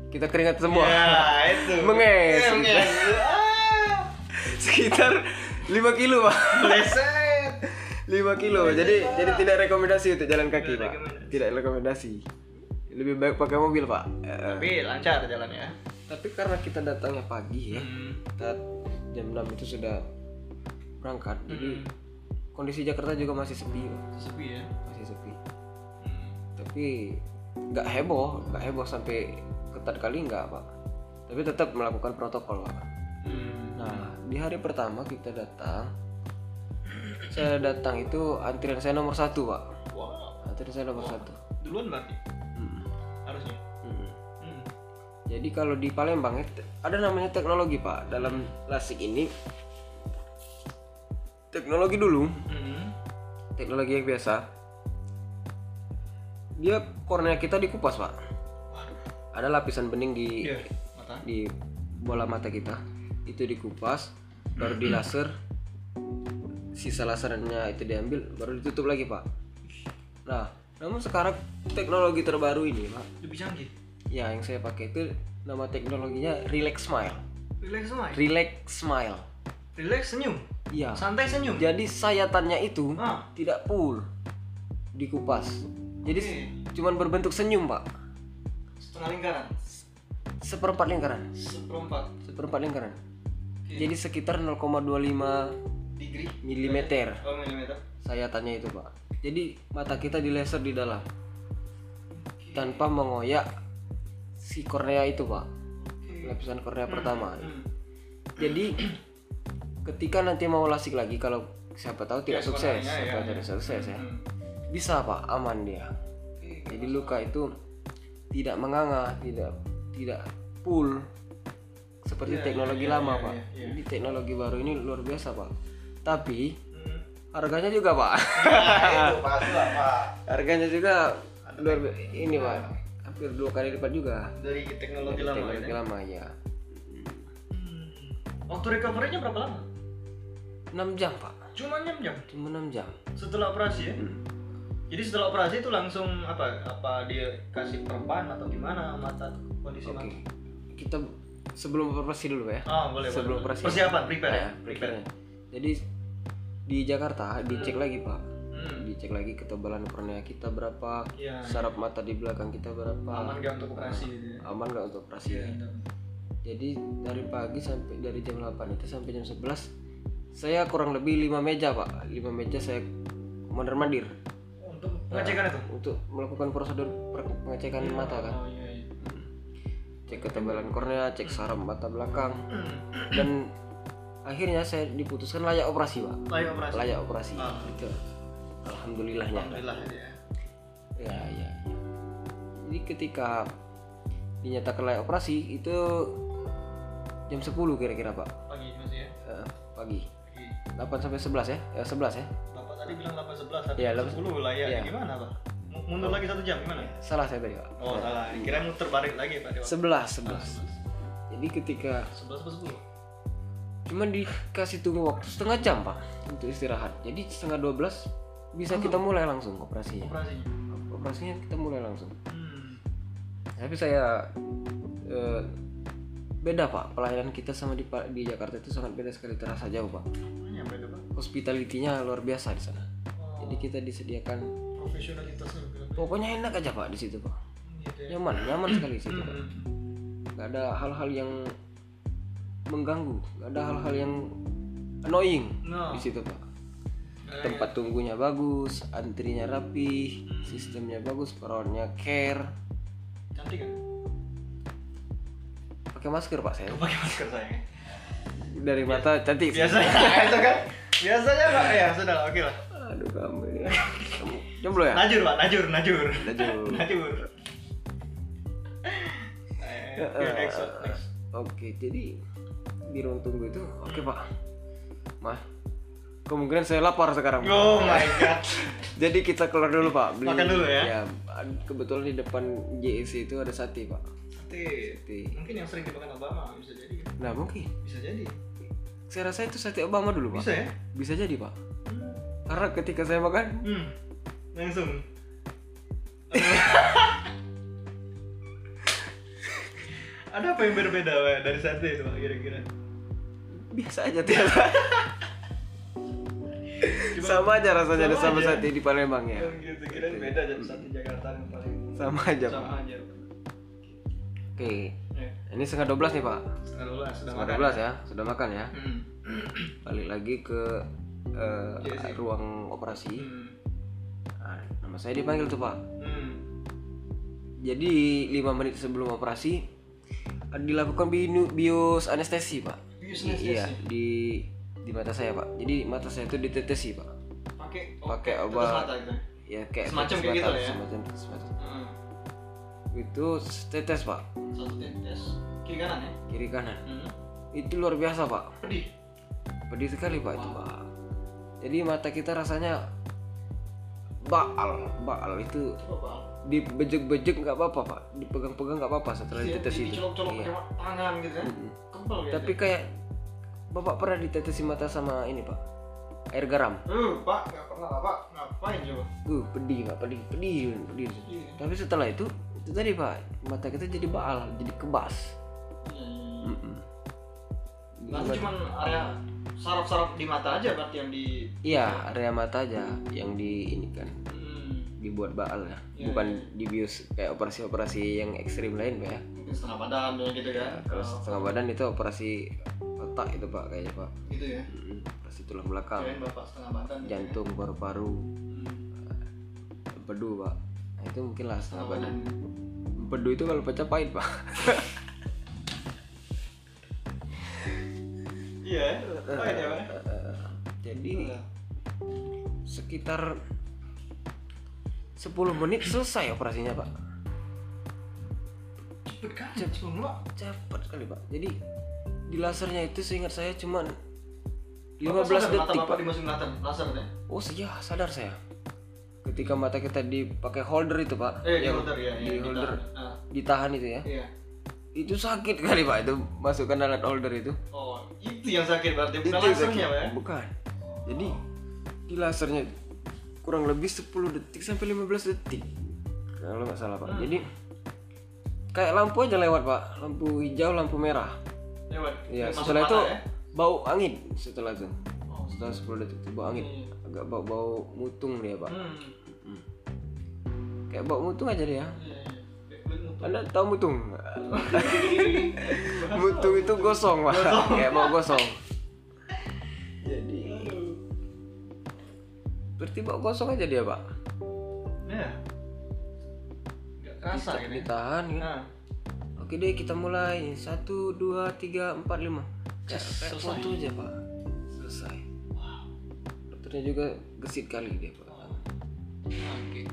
Speaker 1: kita keringat semua.
Speaker 2: Ya, itu.
Speaker 1: Menges.
Speaker 2: Ya, Menges. Ah,
Speaker 1: Sekitar 5 kilo pak.
Speaker 2: Leset.
Speaker 1: 5 kilo. Jadi jadi tidak rekomendasi untuk jalan kaki,
Speaker 2: Iya, Tidak
Speaker 1: Pak.
Speaker 2: rekomendasi.
Speaker 1: Tidak rekomendasi. Lebih baik pakai mobil, Pak. Eh,
Speaker 2: Tapi lancar jalannya.
Speaker 1: tapi karena kita datangnya pagi ya.
Speaker 2: Hmm.
Speaker 1: Kita jam 6 itu sudah berangkat. Jadi kondisi Jakarta juga masih sepi, Pak.
Speaker 2: Sepi ya.
Speaker 1: Masih sepi.
Speaker 2: Hmm.
Speaker 1: Tapi nggak heboh, nggak heboh sampai ketat kali nggak, Pak. Tapi tetap melakukan protokol, Pak.
Speaker 2: Hmm.
Speaker 1: Nah, di hari pertama kita datang, saya datang itu antrian saya nomor satu, Pak.
Speaker 2: Wow.
Speaker 1: Antrian saya nomor satu.
Speaker 2: Duluan berarti Hmm. harusnya.
Speaker 1: Mm.
Speaker 2: Hmm.
Speaker 1: Jadi kalau di Palembang itu ada namanya teknologi, Pak. Dalam lasik ini teknologi dulu,
Speaker 2: Hmm.
Speaker 1: teknologi yang biasa. Dia kornea kita dikupas, Pak. Ada lapisan bening di
Speaker 2: Iya. Mata.
Speaker 1: di bola mata kita. Itu dikupas, baru di laser. Sisa lasernya itu diambil, baru ditutup lagi, Pak. Nah, namun sekarang teknologi terbaru ini, Pak,
Speaker 2: Lebih canggih.
Speaker 1: Ya, yang saya pakai itu nama teknologinya Relax Smile.
Speaker 2: Relax semua. ya?
Speaker 1: Relax Smile.
Speaker 2: Relax senyum.
Speaker 1: Iya.
Speaker 2: Santai senyum.
Speaker 1: Jadi sayatannya itu
Speaker 2: Ah.
Speaker 1: tidak full dikupas. Jadi
Speaker 2: Oke.
Speaker 1: cuman berbentuk senyum, Pak.
Speaker 2: Setengah lingkaran.
Speaker 1: Seperempat lingkaran.
Speaker 2: Seperempat
Speaker 1: Seperempat lingkaran.
Speaker 2: Oke.
Speaker 1: Jadi sekitar 0,25
Speaker 2: degree.
Speaker 1: mm
Speaker 2: Oh, milimeter.
Speaker 1: sayatannya itu, Pak. Jadi mata kita dilaser di dalam.
Speaker 2: Oke.
Speaker 1: tanpa mengoyak si kornea itu pak
Speaker 2: Oke.
Speaker 1: lapisan kornea pertama
Speaker 2: Hmm.
Speaker 1: jadi ketika nanti mau lasik lagi kalau siapa tahu tidak
Speaker 2: Ya,
Speaker 1: sukses
Speaker 2: sebenarnya,
Speaker 1: siapa
Speaker 2: ya,
Speaker 1: tidak
Speaker 2: ya.
Speaker 1: sukses ya
Speaker 2: Hmm.
Speaker 1: bisa pak aman dia
Speaker 2: Oke,
Speaker 1: jadi luka itu tidak menganga tidak tidak full seperti
Speaker 2: Iya, iya,
Speaker 1: teknologi
Speaker 2: iya,
Speaker 1: lama
Speaker 2: iya,
Speaker 1: pak
Speaker 2: iya, iya.
Speaker 1: jadi teknologi baru ini luar biasa pak tapi
Speaker 2: Hmm.
Speaker 1: harganya juga pak
Speaker 2: Nah, itu palsu lah pak
Speaker 1: harganya juga luar bi- ini pak hampir dua kali lipat juga
Speaker 2: dari teknologi
Speaker 1: Dari
Speaker 2: lama
Speaker 1: teknologi
Speaker 2: ini.
Speaker 1: lama ya
Speaker 2: Hmm. Waktu recovery-nya berapa lama?
Speaker 1: 6 jam pak
Speaker 2: Cuma 6 jam
Speaker 1: cuma 6 jam Hmm,
Speaker 2: setelah operasi ya. Jadi setelah operasi itu langsung apa? Apa dia kasih perban atau gimana mata kondisi
Speaker 1: oke
Speaker 2: mata?
Speaker 1: kita sebelum operasi dulu Pak, ya
Speaker 2: Ah, boleh.
Speaker 1: Sebelum
Speaker 2: boleh.
Speaker 1: operasi.
Speaker 2: Persiapan, prepare ya.
Speaker 1: Nah,
Speaker 2: Prepare.
Speaker 1: jadi di Jakarta dicek lagi pak
Speaker 2: Hmm.
Speaker 1: dicek lagi ketebalan kornea kita berapa
Speaker 2: Iya.
Speaker 1: saraf mata di belakang kita berapa
Speaker 2: Aman gak untuk operasi gitu ya?
Speaker 1: aman nggak untuk operasi
Speaker 2: Iya, gitu.
Speaker 1: jadi dari pagi sampai dari jam 8 itu sampai jam 11 saya kurang lebih 5 meja pak 5 meja saya mondar mandir
Speaker 2: Untuk pengecekan itu.
Speaker 1: untuk melakukan prosedur per- pengecekan mata Iya. kan
Speaker 2: Oh iya iya.
Speaker 1: cek ketebalan kornea cek saraf mata belakang
Speaker 2: Hmm.
Speaker 1: dan akhirnya saya diputuskan layak operasi pak
Speaker 2: Layak operasi.
Speaker 1: layak iya. operasi
Speaker 2: Ah.
Speaker 1: itu alhamdulillahnya
Speaker 2: Alhamdulillah ya.
Speaker 1: ya ya ya. jadi ketika dinyatakan layak operasi itu jam 10 kira-kira pak
Speaker 2: Pagi masih ya.
Speaker 1: Eh, pagi
Speaker 2: Pagi.
Speaker 1: 8 sampai 11 ya ya 11 ya
Speaker 2: Bapak tadi bilang 8.11 tapi
Speaker 1: Iya,
Speaker 2: 10 lah ya.
Speaker 1: iya.
Speaker 2: Gimana, Pak? Mu- Mundur lagi satu jam gimana?
Speaker 1: salah saya tadi pak
Speaker 2: Oh, salah.
Speaker 1: Iya.
Speaker 2: Kira muter balik lagi, Pak.
Speaker 1: 11 11 jadi ketika
Speaker 2: 11 apa 10?
Speaker 1: cuman dikasih tunggu waktu setengah jam pak untuk istirahat jadi setengah 12 bisa kita mulai langsung operasinya
Speaker 2: Operasinya.
Speaker 1: operasinya kita mulai langsung
Speaker 2: Hmm.
Speaker 1: tapi saya eh, beda pak pelayanan kita sama di di Jakarta itu sangat beda sekali terasa jauh pak
Speaker 2: Apanya beda, Pak?
Speaker 1: hospitality-nya luar biasa di sana
Speaker 2: Oh,
Speaker 1: jadi Iya. kita disediakan
Speaker 2: profesionalitasnya beda.
Speaker 1: pokoknya enak aja pak di situ pak
Speaker 2: Gitu ya.
Speaker 1: nyaman nyaman sekali di situ pak
Speaker 2: Hmm.
Speaker 1: nggak ada hal-hal yang mengganggu nggak ada hal-hal yang annoying
Speaker 2: No.
Speaker 1: di situ pak
Speaker 2: Eh,
Speaker 1: tempat tunggunya bagus antrinya rapi
Speaker 2: Hmm.
Speaker 1: sistemnya bagus perawatnya care
Speaker 2: Cantik kan?
Speaker 1: pakai masker pak saya
Speaker 2: Gak pakai masker saya.
Speaker 1: dari
Speaker 2: Iya.
Speaker 1: mata cantik sih.
Speaker 2: Biasanya itu kan. Biasanya Pak ya, sudah lah, oke lah.
Speaker 1: aduh kamu ini kamu jomblo ya
Speaker 2: Nah. Najur, Pak, najur, najur.
Speaker 1: Najur.
Speaker 2: najur. Eh, oke, next, Pak, next.
Speaker 1: Oke, jadi di ruang tunggu itu, oke pak, mah, kemungkinan saya lapar sekarang. Pak.
Speaker 2: Oh my god.
Speaker 1: Jadi kita keluar dulu pak, beli.
Speaker 2: Makan dulu ya.
Speaker 1: kebetulan di depan JEC itu ada sate pak.
Speaker 2: Sate.
Speaker 1: Sate.
Speaker 2: Mungkin yang sering dimakan Obama bisa jadi. kan?
Speaker 1: Nah mungkin,
Speaker 2: Bisa jadi.
Speaker 1: saya rasa itu sate Obama dulu pak.
Speaker 2: Bisa ya?
Speaker 1: Bisa jadi pak. Karena ketika saya makan,
Speaker 2: Hmm. Langsung. Ada apa yang berbeda Pak, dari sate itu Pak, kira-kira?
Speaker 1: biasa aja tuh. Pak. sama aja rasanya
Speaker 2: sama
Speaker 1: sama, sama
Speaker 2: aja.
Speaker 1: sate di Palembang ya.
Speaker 2: Yang gitu kira beda aja sate Jakarta yang paling
Speaker 1: Sama aja pak.
Speaker 2: sama aja.
Speaker 1: Oke,
Speaker 2: Ya,
Speaker 1: ini setengah 12 nih pak.
Speaker 2: setengah dua sudah
Speaker 1: Setengah
Speaker 2: makan.
Speaker 1: 12 ya, sudah makan ya.
Speaker 2: Hmm.
Speaker 1: balik lagi ke eh,
Speaker 2: Iya sih.
Speaker 1: ruang operasi
Speaker 2: Hmm.
Speaker 1: Nah, nama saya dipanggil tuh pak
Speaker 2: Hmm.
Speaker 1: jadi lima menit sebelum operasi eh, dilakukan binu- bios anestesi pak
Speaker 2: Bius
Speaker 1: I-
Speaker 2: anestesi.
Speaker 1: iya di di mata saya pak jadi mata saya itu ditetesi pak
Speaker 2: Pakai
Speaker 1: Pakai
Speaker 2: tetes
Speaker 1: obat.
Speaker 2: mata gitu.
Speaker 1: ya kayak
Speaker 2: Semacam
Speaker 1: tetes
Speaker 2: kayak gitu
Speaker 1: mata,
Speaker 2: lah ya.
Speaker 1: semacam tetes mata.
Speaker 2: Hmm.
Speaker 1: itu tetes pak
Speaker 2: Satu tetes kiri kanan ya.
Speaker 1: kiri kanan
Speaker 2: Hmm.
Speaker 1: itu luar biasa pak
Speaker 2: Pedih.
Speaker 1: pedih sekali pak itu pak jadi mata kita rasanya baal baal itu
Speaker 2: Coba Pak.
Speaker 1: dibejek-bejek nggak apa-apa pak dipegang-pegang nggak apa-apa setelah
Speaker 2: Iya,
Speaker 1: ditetes itu
Speaker 2: dicolok-colok
Speaker 1: Iya.
Speaker 2: pakai tangan gitu ya. Kempel gitu.
Speaker 1: tapi kayak bapak pernah ditetesi mata sama ini pak air garam
Speaker 2: Eh, Pak, nggak pernah lah, Pak. Ngapain coba?
Speaker 1: uh pedih pak pedih pedih pedih
Speaker 2: Iya.
Speaker 1: tapi setelah itu itu tadi pak mata kita jadi baal jadi kebas
Speaker 2: Iya, iya, iya.
Speaker 1: Mm-mm.
Speaker 2: Berarti cuman area saraf-saraf di mata aja berarti yang di Gitu.
Speaker 1: iya area mata aja yang di ini kan
Speaker 2: hmm,
Speaker 1: dibuat baal ya
Speaker 2: Iya, iya.
Speaker 1: bukan dibius kayak operasi-operasi yang ekstrim lain pak ya
Speaker 2: mungkin setengah badan ya gitu kan.
Speaker 1: Iya, kalau
Speaker 2: Oh,
Speaker 1: setengah badan itu operasi otak itu pak kayaknya pak
Speaker 2: gitu ya.
Speaker 1: Mm, operasi tulang belakang
Speaker 2: Kirain Bapak setengah badan gitu ya.
Speaker 1: jantung paru-paru
Speaker 2: Hmm.
Speaker 1: empedu pak Nah, itu mungkin lah
Speaker 2: Oh.
Speaker 1: sahabatnya. Bedu itu kalau pecah pahit, Pak.
Speaker 2: Iya, oh iya Pak.
Speaker 1: Eh, Jadi
Speaker 2: Iya.
Speaker 1: sekitar 10 menit selesai operasinya, Pak.
Speaker 2: Cepet kan? Cepet Pak.
Speaker 1: Cepat sekali, Pak. Jadi di lasernya itu seingat saya cuman
Speaker 2: Bapak
Speaker 1: 15
Speaker 2: sadar mata
Speaker 1: detik,
Speaker 2: Bapak
Speaker 1: Pak.
Speaker 2: dimasukin laser, laser ya?
Speaker 1: Oh, iya, sadar saya. Ketika mata kita dipakai holder itu, Pak.
Speaker 2: Eh, di
Speaker 1: yang
Speaker 2: holder ya,
Speaker 1: Iya, di
Speaker 2: ya,
Speaker 1: holder
Speaker 2: ditahan. Ah,
Speaker 1: ditahan itu ya.
Speaker 2: Iya.
Speaker 1: Itu sakit kali, Pak. Itu masukkan alat holder itu.
Speaker 2: Oh, itu yang sakit berarti bukan
Speaker 1: Itu
Speaker 2: lasernya, Pak. ya?
Speaker 1: sakit. Bukan. Jadi di lasernya kurang lebih 10 detik sampai 15 detik. Kalau nggak salah,
Speaker 2: Hmm.
Speaker 1: Pak. Jadi kayak lampu aja lewat, Pak. Lampu hijau, lampu merah.
Speaker 2: Lewat.
Speaker 1: Iya,
Speaker 2: Masuk
Speaker 1: setelah
Speaker 2: mata,
Speaker 1: itu
Speaker 2: ya?
Speaker 1: bau angin setelah itu.
Speaker 2: Oh.
Speaker 1: Setelah 10 detik itu bau angin.
Speaker 2: Iya.
Speaker 1: Agak bau-bau mutung dia, Pak.
Speaker 2: Hmm.
Speaker 1: Kayak bau mutung aja dia.
Speaker 2: Iya, iya. Kayak mutu.
Speaker 1: Anda tahu mutung? mutung itu gosong, Pak. Kayak bau gosong. Jadi berarti bau gosong aja dia, Pak.
Speaker 2: Iya. Nggak kerasa
Speaker 1: Dita-
Speaker 2: ini.
Speaker 1: ditahan gitu.
Speaker 2: Nah,
Speaker 1: Oke deh kita mulai satu dua tiga empat lima kayak kayak
Speaker 2: Selesai.
Speaker 1: foto aja pak selesai dokternya juga gesit kali dia pak
Speaker 2: Oh.
Speaker 1: Hmm,
Speaker 2: oke.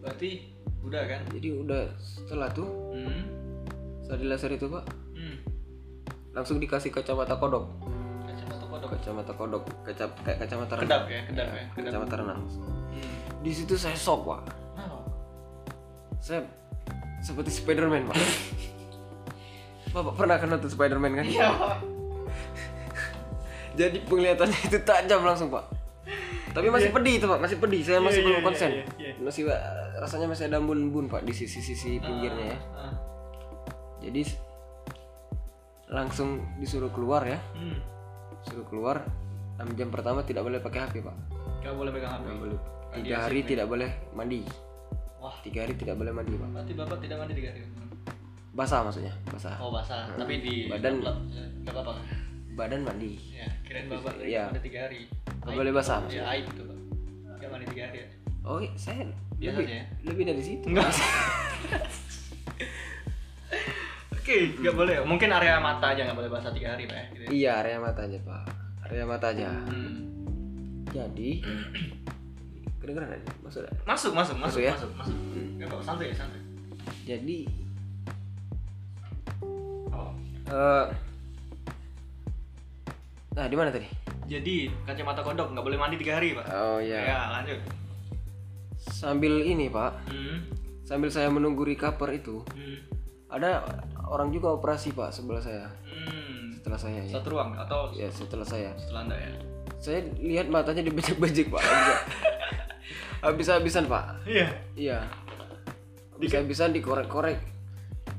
Speaker 2: Berarti udah kan?
Speaker 1: jadi udah setelah tuh
Speaker 2: Hmm.
Speaker 1: setelah di laser itu pak
Speaker 2: Hmm.
Speaker 1: langsung dikasih kacamata kodok
Speaker 2: Kacamata kodok.
Speaker 1: kacamata kodok kaca kayak kacamata renang
Speaker 2: Kedap ya, kedap
Speaker 1: Iya.
Speaker 2: ya, kedap.
Speaker 1: kacamata renang
Speaker 2: Hmm.
Speaker 1: di situ saya shock pak
Speaker 2: Kenapa?
Speaker 1: saya seperti Spiderman pak bapak pernah kan nonton Spiderman kan
Speaker 2: Iya, Pak.
Speaker 1: jadi penglihatannya itu tajam langsung pak tapi masih pedih itu pak masih pedih saya masih
Speaker 2: Iya,
Speaker 1: belum
Speaker 2: iya,
Speaker 1: konsen
Speaker 2: iya, iya,
Speaker 1: masih uh, rasanya masih ada embun-embun pak di sisi-sisi pinggirnya ya
Speaker 2: Ah,
Speaker 1: jadi s- langsung disuruh keluar ya
Speaker 2: Hmm.
Speaker 1: suruh keluar 6 jam pertama tidak boleh pakai HP pak
Speaker 2: Gak boleh pegang HP.
Speaker 1: tidak boleh tiga
Speaker 2: Radiasi,
Speaker 1: hari tidak boleh mandi
Speaker 2: Wah,
Speaker 1: tiga hari tidak boleh mandi pak
Speaker 2: berarti Bapak tidak mandi tiga hari.
Speaker 1: basah maksudnya basah
Speaker 2: Oh, basah. Tapi di
Speaker 1: Nah, Badan-
Speaker 2: tempat, ya, nggak apa-apa. kan?
Speaker 1: badan mandi
Speaker 2: Ya, kirain Bapak tadi
Speaker 1: Iya.
Speaker 2: mandi tiga hari.
Speaker 1: nggak boleh basah
Speaker 2: Ya, aib itu, Pak. Gak mandi tiga hari ya.
Speaker 1: oh iya, saya
Speaker 2: Biasa
Speaker 1: lebih,
Speaker 2: aja ya?
Speaker 1: lebih dari situ
Speaker 2: Enggak. Oke, nggak boleh. Mungkin area mata aja nggak boleh basah tiga hari, Pak. ya, Gitu. ya.
Speaker 1: iya area mata aja pak area mata aja
Speaker 2: Hmm.
Speaker 1: jadi kedengeran aja maksudnya
Speaker 2: Masuk, masuk, masuk,
Speaker 1: Masuk ya?
Speaker 2: masuk, masuk. Nggak apa-apa, santai, santai.
Speaker 1: jadi
Speaker 2: Oh.
Speaker 1: eh nah di mana tadi
Speaker 2: Jadi kacamata kodok nggak boleh mandi tiga hari, Pak.
Speaker 1: oh
Speaker 2: Ya, lanjut.
Speaker 1: sambil ini pak
Speaker 2: Hmm.
Speaker 1: sambil saya menunggu recover itu
Speaker 2: Hmm.
Speaker 1: ada orang juga operasi pak sebelah saya
Speaker 2: Hmm.
Speaker 1: setelah saya ya,
Speaker 2: Satu ruang atau
Speaker 1: ya setelah saya
Speaker 2: setelah Anda ya?
Speaker 1: saya lihat matanya dibejek-bejek pak habis-habisan pak
Speaker 2: Iya.
Speaker 1: iya habis-habisan dikorek-korek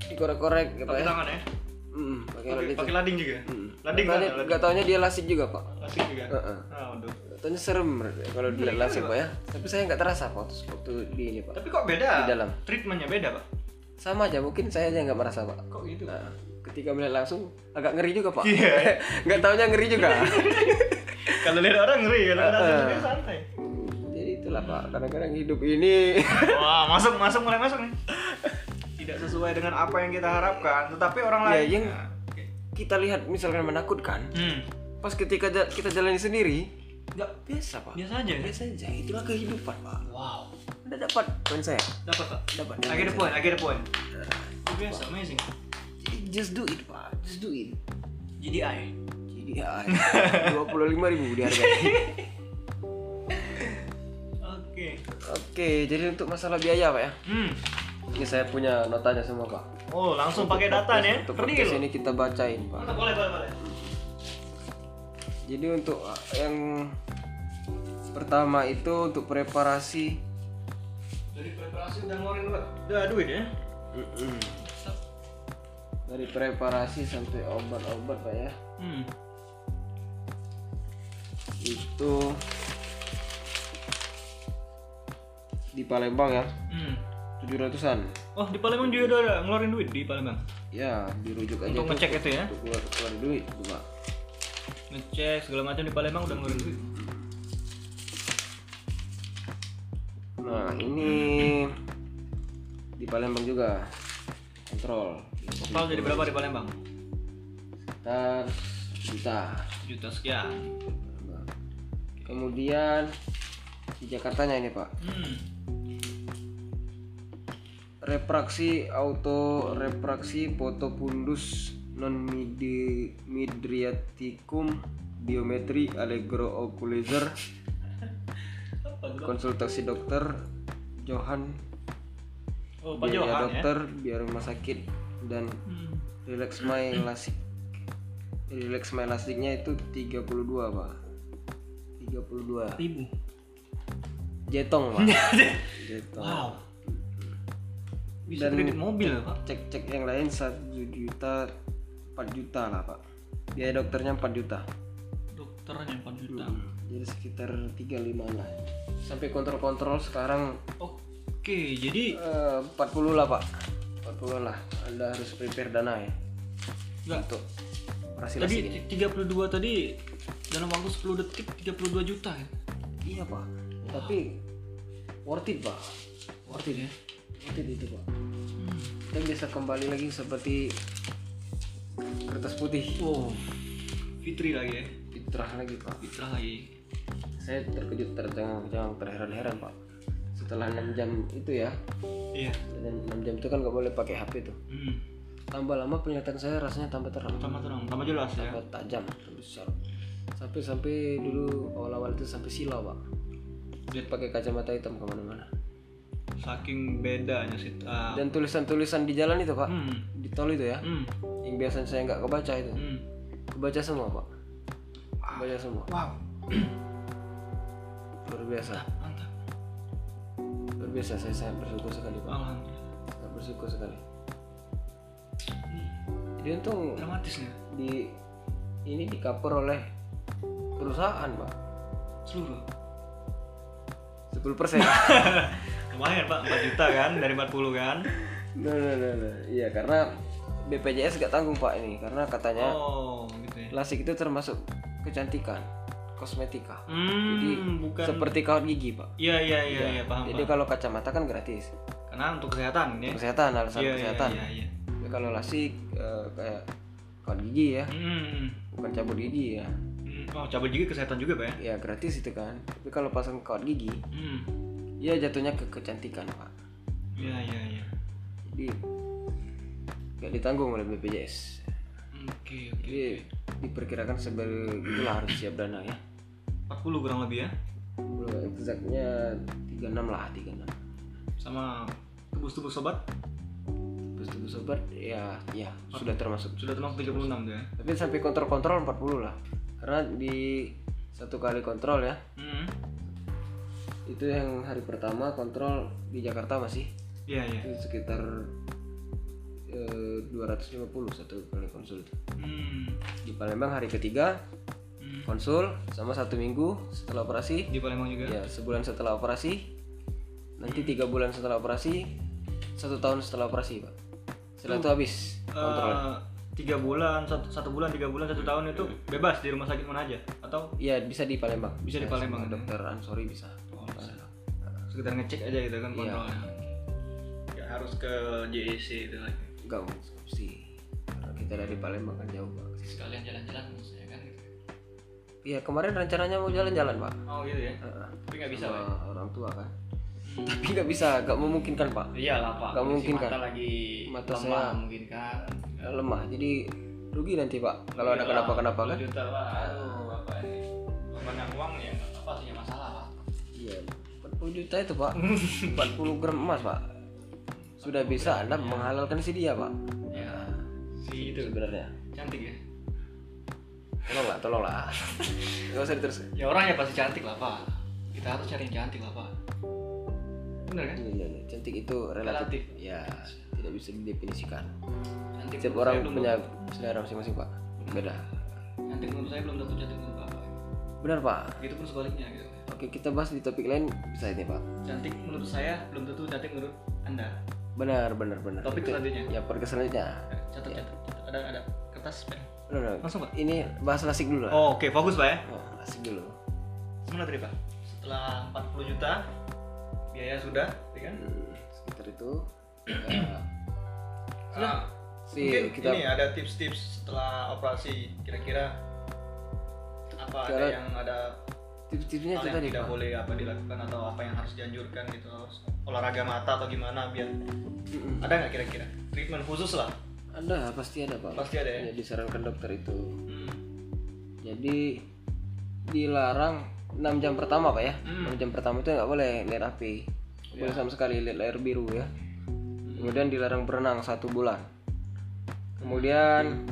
Speaker 1: dikorek-korek ya, Pak,
Speaker 2: Pakai
Speaker 1: ya.
Speaker 2: tangan ya?
Speaker 1: Mm, pakai
Speaker 2: Pakai
Speaker 1: lidi.
Speaker 2: pakai lading juga.
Speaker 1: Mm.
Speaker 2: Lading
Speaker 1: Nggak
Speaker 2: kan?
Speaker 1: taunya- nggak taunya dia lasik juga pak
Speaker 2: Asik juga.
Speaker 1: Heeh.
Speaker 2: Ah, waduh.
Speaker 1: Katanya serem kalau dilihat langsung pak ya. Tapi saya nggak terasa pak waktu, waktu di ini pak.
Speaker 2: Tapi kok beda?
Speaker 1: Di dalam.
Speaker 2: Treatmentnya beda, Pak.
Speaker 1: Sama aja mungkin saya aja nggak merasa pak.
Speaker 2: Kok gitu?
Speaker 1: Nah, ketika melihat langsung agak ngeri juga pak.
Speaker 2: Iya.
Speaker 1: Nggak taunya ngeri juga.
Speaker 2: Kalau lihat orang ngeri, kalau
Speaker 1: Eh,
Speaker 2: lihat sendiri santai.
Speaker 1: Jadi itulah pak. Kadang-kadang hidup ini.
Speaker 2: Wah, masuk, masuk, mulai masuk nih. Tidak sesuai dengan apa yang kita harapkan, tetapi orang
Speaker 1: Ya,
Speaker 2: lain.
Speaker 1: yang-
Speaker 2: Nah, oke.
Speaker 1: kita lihat misalkan menakutkan.
Speaker 2: Hmm.
Speaker 1: Pas ketika ja- kita jalani sendiri nggak biasa pak.
Speaker 2: Biasa aja.
Speaker 1: Biasa aja. Itulah kehidupan pak.
Speaker 2: Wow.
Speaker 1: Anda dapat poin saya.
Speaker 2: Dapat, Pak.
Speaker 1: Dapat. Eh.
Speaker 2: I get the point, I get the point. Biasa, amazing.
Speaker 1: Jadi just do it pak. Just do it.
Speaker 2: GDI.
Speaker 1: Jadi ya. dua puluh lima ribu dihargai.
Speaker 2: Oke.
Speaker 1: Oke, jadi untuk masalah biaya pak ya,
Speaker 2: Hmm.
Speaker 1: ini saya punya notanya semua pak.
Speaker 2: Oh, langsung pakai data nih.
Speaker 1: Untuk
Speaker 2: Real.
Speaker 1: podcast ini kita bacain pak.
Speaker 2: Mantap, boleh, boleh, boleh.
Speaker 1: Jadi untuk uh, yang pertama itu untuk preparasi
Speaker 2: Dari preparasi udah ngeluarin duit. Udah duit ya.
Speaker 1: dari preparasi sampai obat-obat pak ya,
Speaker 2: Hmm.
Speaker 1: itu di Palembang ya,
Speaker 2: Hmm.
Speaker 1: 700-an.
Speaker 2: Oh, di Palembang juga udah ada ngeluarin duit di Palembang.
Speaker 1: Ya, dirujuk aja
Speaker 2: Untuk
Speaker 1: itu
Speaker 2: ngecek itu ya.
Speaker 1: untuk keluar, keluar duit itu, pak.
Speaker 2: Ngecek segala macam di Palembang udah ngeluarin duit.
Speaker 1: Nah, ini di Palembang juga kontrol
Speaker 2: Total jadi berapa di Palembang?
Speaker 1: sekitar juta.
Speaker 2: Juta sekian.
Speaker 1: Kemudian di Jakartanya ini Pak,
Speaker 2: Hmm.
Speaker 1: refraksi auto refraksi fotopundus non midi midriaticum biometri allegro oculaser
Speaker 2: Apa tuh?
Speaker 1: konsultasi dokter Johan
Speaker 2: Oh, Pak Johan
Speaker 1: biaya
Speaker 2: ya.
Speaker 1: Iya, dokter biaya rumah sakit dan
Speaker 2: Hmm.
Speaker 1: relax my lasik relax my lasiknya itu 32 pak 32
Speaker 2: Ribu.
Speaker 1: jetong pak jetong
Speaker 2: Wow. Bisa
Speaker 1: Dan-
Speaker 2: kredit mobil ya, Pak.
Speaker 1: cek cek yang lain 1 juta 4 juta lah pak biaya dokternya 4 juta
Speaker 2: Dokternya 4 juta.
Speaker 1: Hmm. jadi sekitar 35 lah sampai kontrol-kontrol sekarang
Speaker 2: Oke, jadi
Speaker 1: eh, 40 lah pak 40 lah anda harus prepare dana ya
Speaker 2: enggak
Speaker 1: untuk operasi
Speaker 2: tadi
Speaker 1: lasik ini
Speaker 2: 32 tadi dalam waktu 10 detik 32 juta ya.
Speaker 1: iya pak tapi worth it pak
Speaker 2: Worth it ya.
Speaker 1: worth it itu pak
Speaker 2: Hmm.
Speaker 1: kita bisa kembali lagi seperti kertas putih
Speaker 2: Wow. Oh, Fitri lagi ya.
Speaker 1: fitrah lagi pak
Speaker 2: Fitrah lagi.
Speaker 1: saya terkejut tercengang jangan terheran-heran pak setelah 6 jam itu ya
Speaker 2: Iya.
Speaker 1: dan 6 jam itu kan nggak boleh pakai HP tuh
Speaker 2: Hmm.
Speaker 1: tambah lama penglihatan saya rasanya tambah terang
Speaker 2: Tambah terang, tambah jelas ya.
Speaker 1: tambah tajam tambah sharp. sampai sampai dulu awal-awal itu sampai silau pak dia pakai kacamata hitam kemana-mana
Speaker 2: Saking bedanya sih. Ah.
Speaker 1: dan tulisan-tulisan di jalan itu pak
Speaker 2: Hmm.
Speaker 1: di tol itu ya
Speaker 2: Hmm.
Speaker 1: yang biasanya saya nggak kebaca itu
Speaker 2: Hmm.
Speaker 1: kebaca semua pak kebaca semua
Speaker 4: wow
Speaker 1: luar biasa
Speaker 2: Mantap.
Speaker 1: luar biasa saya sangat bersyukur sekali pak
Speaker 2: Alhamdulillah.
Speaker 1: sangat bersyukur sekali
Speaker 2: Ini
Speaker 1: jadi untung
Speaker 2: dramatis nih.
Speaker 1: di ini di cover oleh perusahaan pak
Speaker 2: Seluruh.
Speaker 1: 10 persen
Speaker 2: Lumayan Pak, 4 juta kan dari 40 kan.
Speaker 1: no, no, no, no. iya karena BPJS gak tanggung pak ini karena katanya
Speaker 2: Oh, gitu ya.
Speaker 1: lasik itu termasuk kecantikan kosmetika
Speaker 2: Hmm,
Speaker 1: jadi
Speaker 2: bukan
Speaker 1: seperti kawat gigi pak
Speaker 2: Iya, iya, iya, iya, paham,
Speaker 1: jadi
Speaker 2: paham.
Speaker 1: kalau kacamata kan gratis
Speaker 2: Karena untuk kesehatan ya.
Speaker 1: kesehatan alasan
Speaker 2: Iya, iya,
Speaker 1: kesehatan
Speaker 2: iya, iya.
Speaker 1: Ya, kalau lasik eh, kayak kawat gigi ya
Speaker 2: Hmm.
Speaker 1: bukan cabut gigi ya
Speaker 2: hmm. Oh, cabut gigi kesehatan juga, Pak ya.
Speaker 1: ya gratis itu kan tapi kalau pasang kawat gigi
Speaker 2: Hmm.
Speaker 1: ya jatuhnya ke kecantikan pak
Speaker 2: Iya, iya, iya.
Speaker 1: jadi nggak ditanggung oleh BPJS
Speaker 2: Oke, oke.
Speaker 1: jadi diperkirakan sebagai itulah harus siap dana ya
Speaker 2: 40 kurang lebih ya.
Speaker 1: Kalau exactnya 36 lah 36
Speaker 2: Sama tebus-tebus sobat
Speaker 1: terus tunggu sobat ya ya sudah termasuk
Speaker 2: sudah termasuk 36 tuh ya.
Speaker 1: tapi sampai kontrol-kontrol 40 lah karena di satu kali kontrol ya
Speaker 2: Hmm.
Speaker 1: itu yang hari pertama kontrol di Jakarta masih
Speaker 2: Iya, iya.
Speaker 1: itu sekitar eh, 250 satu kali konsul itu.
Speaker 2: Hmm.
Speaker 1: di Palembang hari ketiga
Speaker 2: hmm.
Speaker 1: konsul sama satu minggu setelah operasi
Speaker 2: Di Palembang juga.
Speaker 1: ya sebulan setelah operasi nanti tiga bulan setelah operasi satu tahun setelah operasi pak setelah
Speaker 2: Oh.
Speaker 1: itu habis kontrol
Speaker 2: Eh, tiga bulan satu, satu bulan tiga bulan satu tahun
Speaker 1: Iya.
Speaker 2: itu bebas di rumah sakit mana aja atau
Speaker 1: ya bisa di Palembang
Speaker 2: Bisa di
Speaker 1: Ya,
Speaker 2: Palembang,
Speaker 1: sama
Speaker 2: ya.
Speaker 1: dokter Ansori bisa Iya.
Speaker 2: sekedar ngecek aja gitu kan kontrolnya nggak harus ke JEC itu lagi
Speaker 1: enggak sih karena kita dari Palembang kan jauh pak
Speaker 2: sekalian jalan-jalan maksudnya kan gitu.
Speaker 1: ya kemarin rencananya mau jalan-jalan pak
Speaker 2: oh gitu ya
Speaker 1: Heeh.
Speaker 2: tapi nggak bisa ya? Hmm.
Speaker 1: Sama orang tua kan tapi nggak bisa nggak memungkinkan pak
Speaker 2: iya lah pak
Speaker 1: Nggak mungkin,
Speaker 2: mata
Speaker 1: kan?
Speaker 2: lagi
Speaker 1: Mata
Speaker 2: lemah
Speaker 1: saya-
Speaker 2: mungkin kan
Speaker 1: lemah jadi rugi nanti pak kalau
Speaker 2: Iya.
Speaker 1: ada kenapa-kenapa kan
Speaker 2: juta pak aduh bapak ini banyak uang ya nggak apa punya masalah pak
Speaker 1: Iya, 40 juta itu pak 40 gram emas pak Sudah bisa
Speaker 2: iya.
Speaker 1: anda menghalalkan si dia pak
Speaker 2: ya si itu
Speaker 1: Sebenarnya
Speaker 2: cantik ya
Speaker 1: Tolonglah, tolonglah Gak usah diterus
Speaker 2: ya orangnya pasti cantik lah pak kita harus cari yang cantik lah pak bener kan
Speaker 1: Ini, ini, ini. Iya, Cantik itu
Speaker 2: Relatif.
Speaker 1: relatif Ya, tidak bisa didefinisikan
Speaker 2: cantik menurut saya
Speaker 1: Setiap orang
Speaker 2: belum- Hmm.
Speaker 1: punya selera masing-masing pak Beda
Speaker 2: cantik menurut saya belum tentu cantik menurut bapak
Speaker 1: Benar pak
Speaker 2: itu pun sebaliknya gitu
Speaker 1: Oke, kita bahas di topik lain bisa ini pak
Speaker 2: cantik menurut saya belum tentu cantik menurut anda
Speaker 1: Benar, benar, benar
Speaker 2: Topik
Speaker 1: Itu-
Speaker 2: selanjutnya.
Speaker 1: Ya, pergi selanjutnya
Speaker 2: Eh, catat catat catat. ada ada kertas pen
Speaker 1: Benar, benar.
Speaker 2: langsung pak
Speaker 1: Ini bahas lasik dulu lah
Speaker 2: oh, oke fokus pak ya
Speaker 1: Oh, Lasik dulu
Speaker 2: gimana tadi pak setelah 40 juta biaya sudah, ya kan?
Speaker 1: Hmm, sekitar itu Ya,
Speaker 2: Sudah.
Speaker 1: si
Speaker 2: Mungkin
Speaker 1: Iya, kita
Speaker 2: ini ya. ada tips-tips setelah operasi kira-kira apa ada
Speaker 1: Cara-
Speaker 2: yang ada
Speaker 1: tips-tipsnya
Speaker 2: hal
Speaker 1: Iya, itu
Speaker 2: yang
Speaker 1: tadi
Speaker 2: tidak
Speaker 1: Pak.
Speaker 2: boleh apa dilakukan atau apa yang harus dianjurkan gitu harus olahraga mata atau gimana biar
Speaker 1: Hmm. Mm-mm.
Speaker 2: ada nggak kira-kira treatment khusus lah
Speaker 1: ada pasti ada pak Iya,
Speaker 2: Pasti ada ya?
Speaker 1: disarankan dokter itu
Speaker 2: hmm.
Speaker 1: jadi dilarang 6 jam pertama pak ya
Speaker 2: Hmm. Ya.
Speaker 1: 6 jam pertama itu nggak boleh lihat HP Nggak boleh sama sekali lihat layar biru ya kemudian dilarang berenang satu bulan kemudian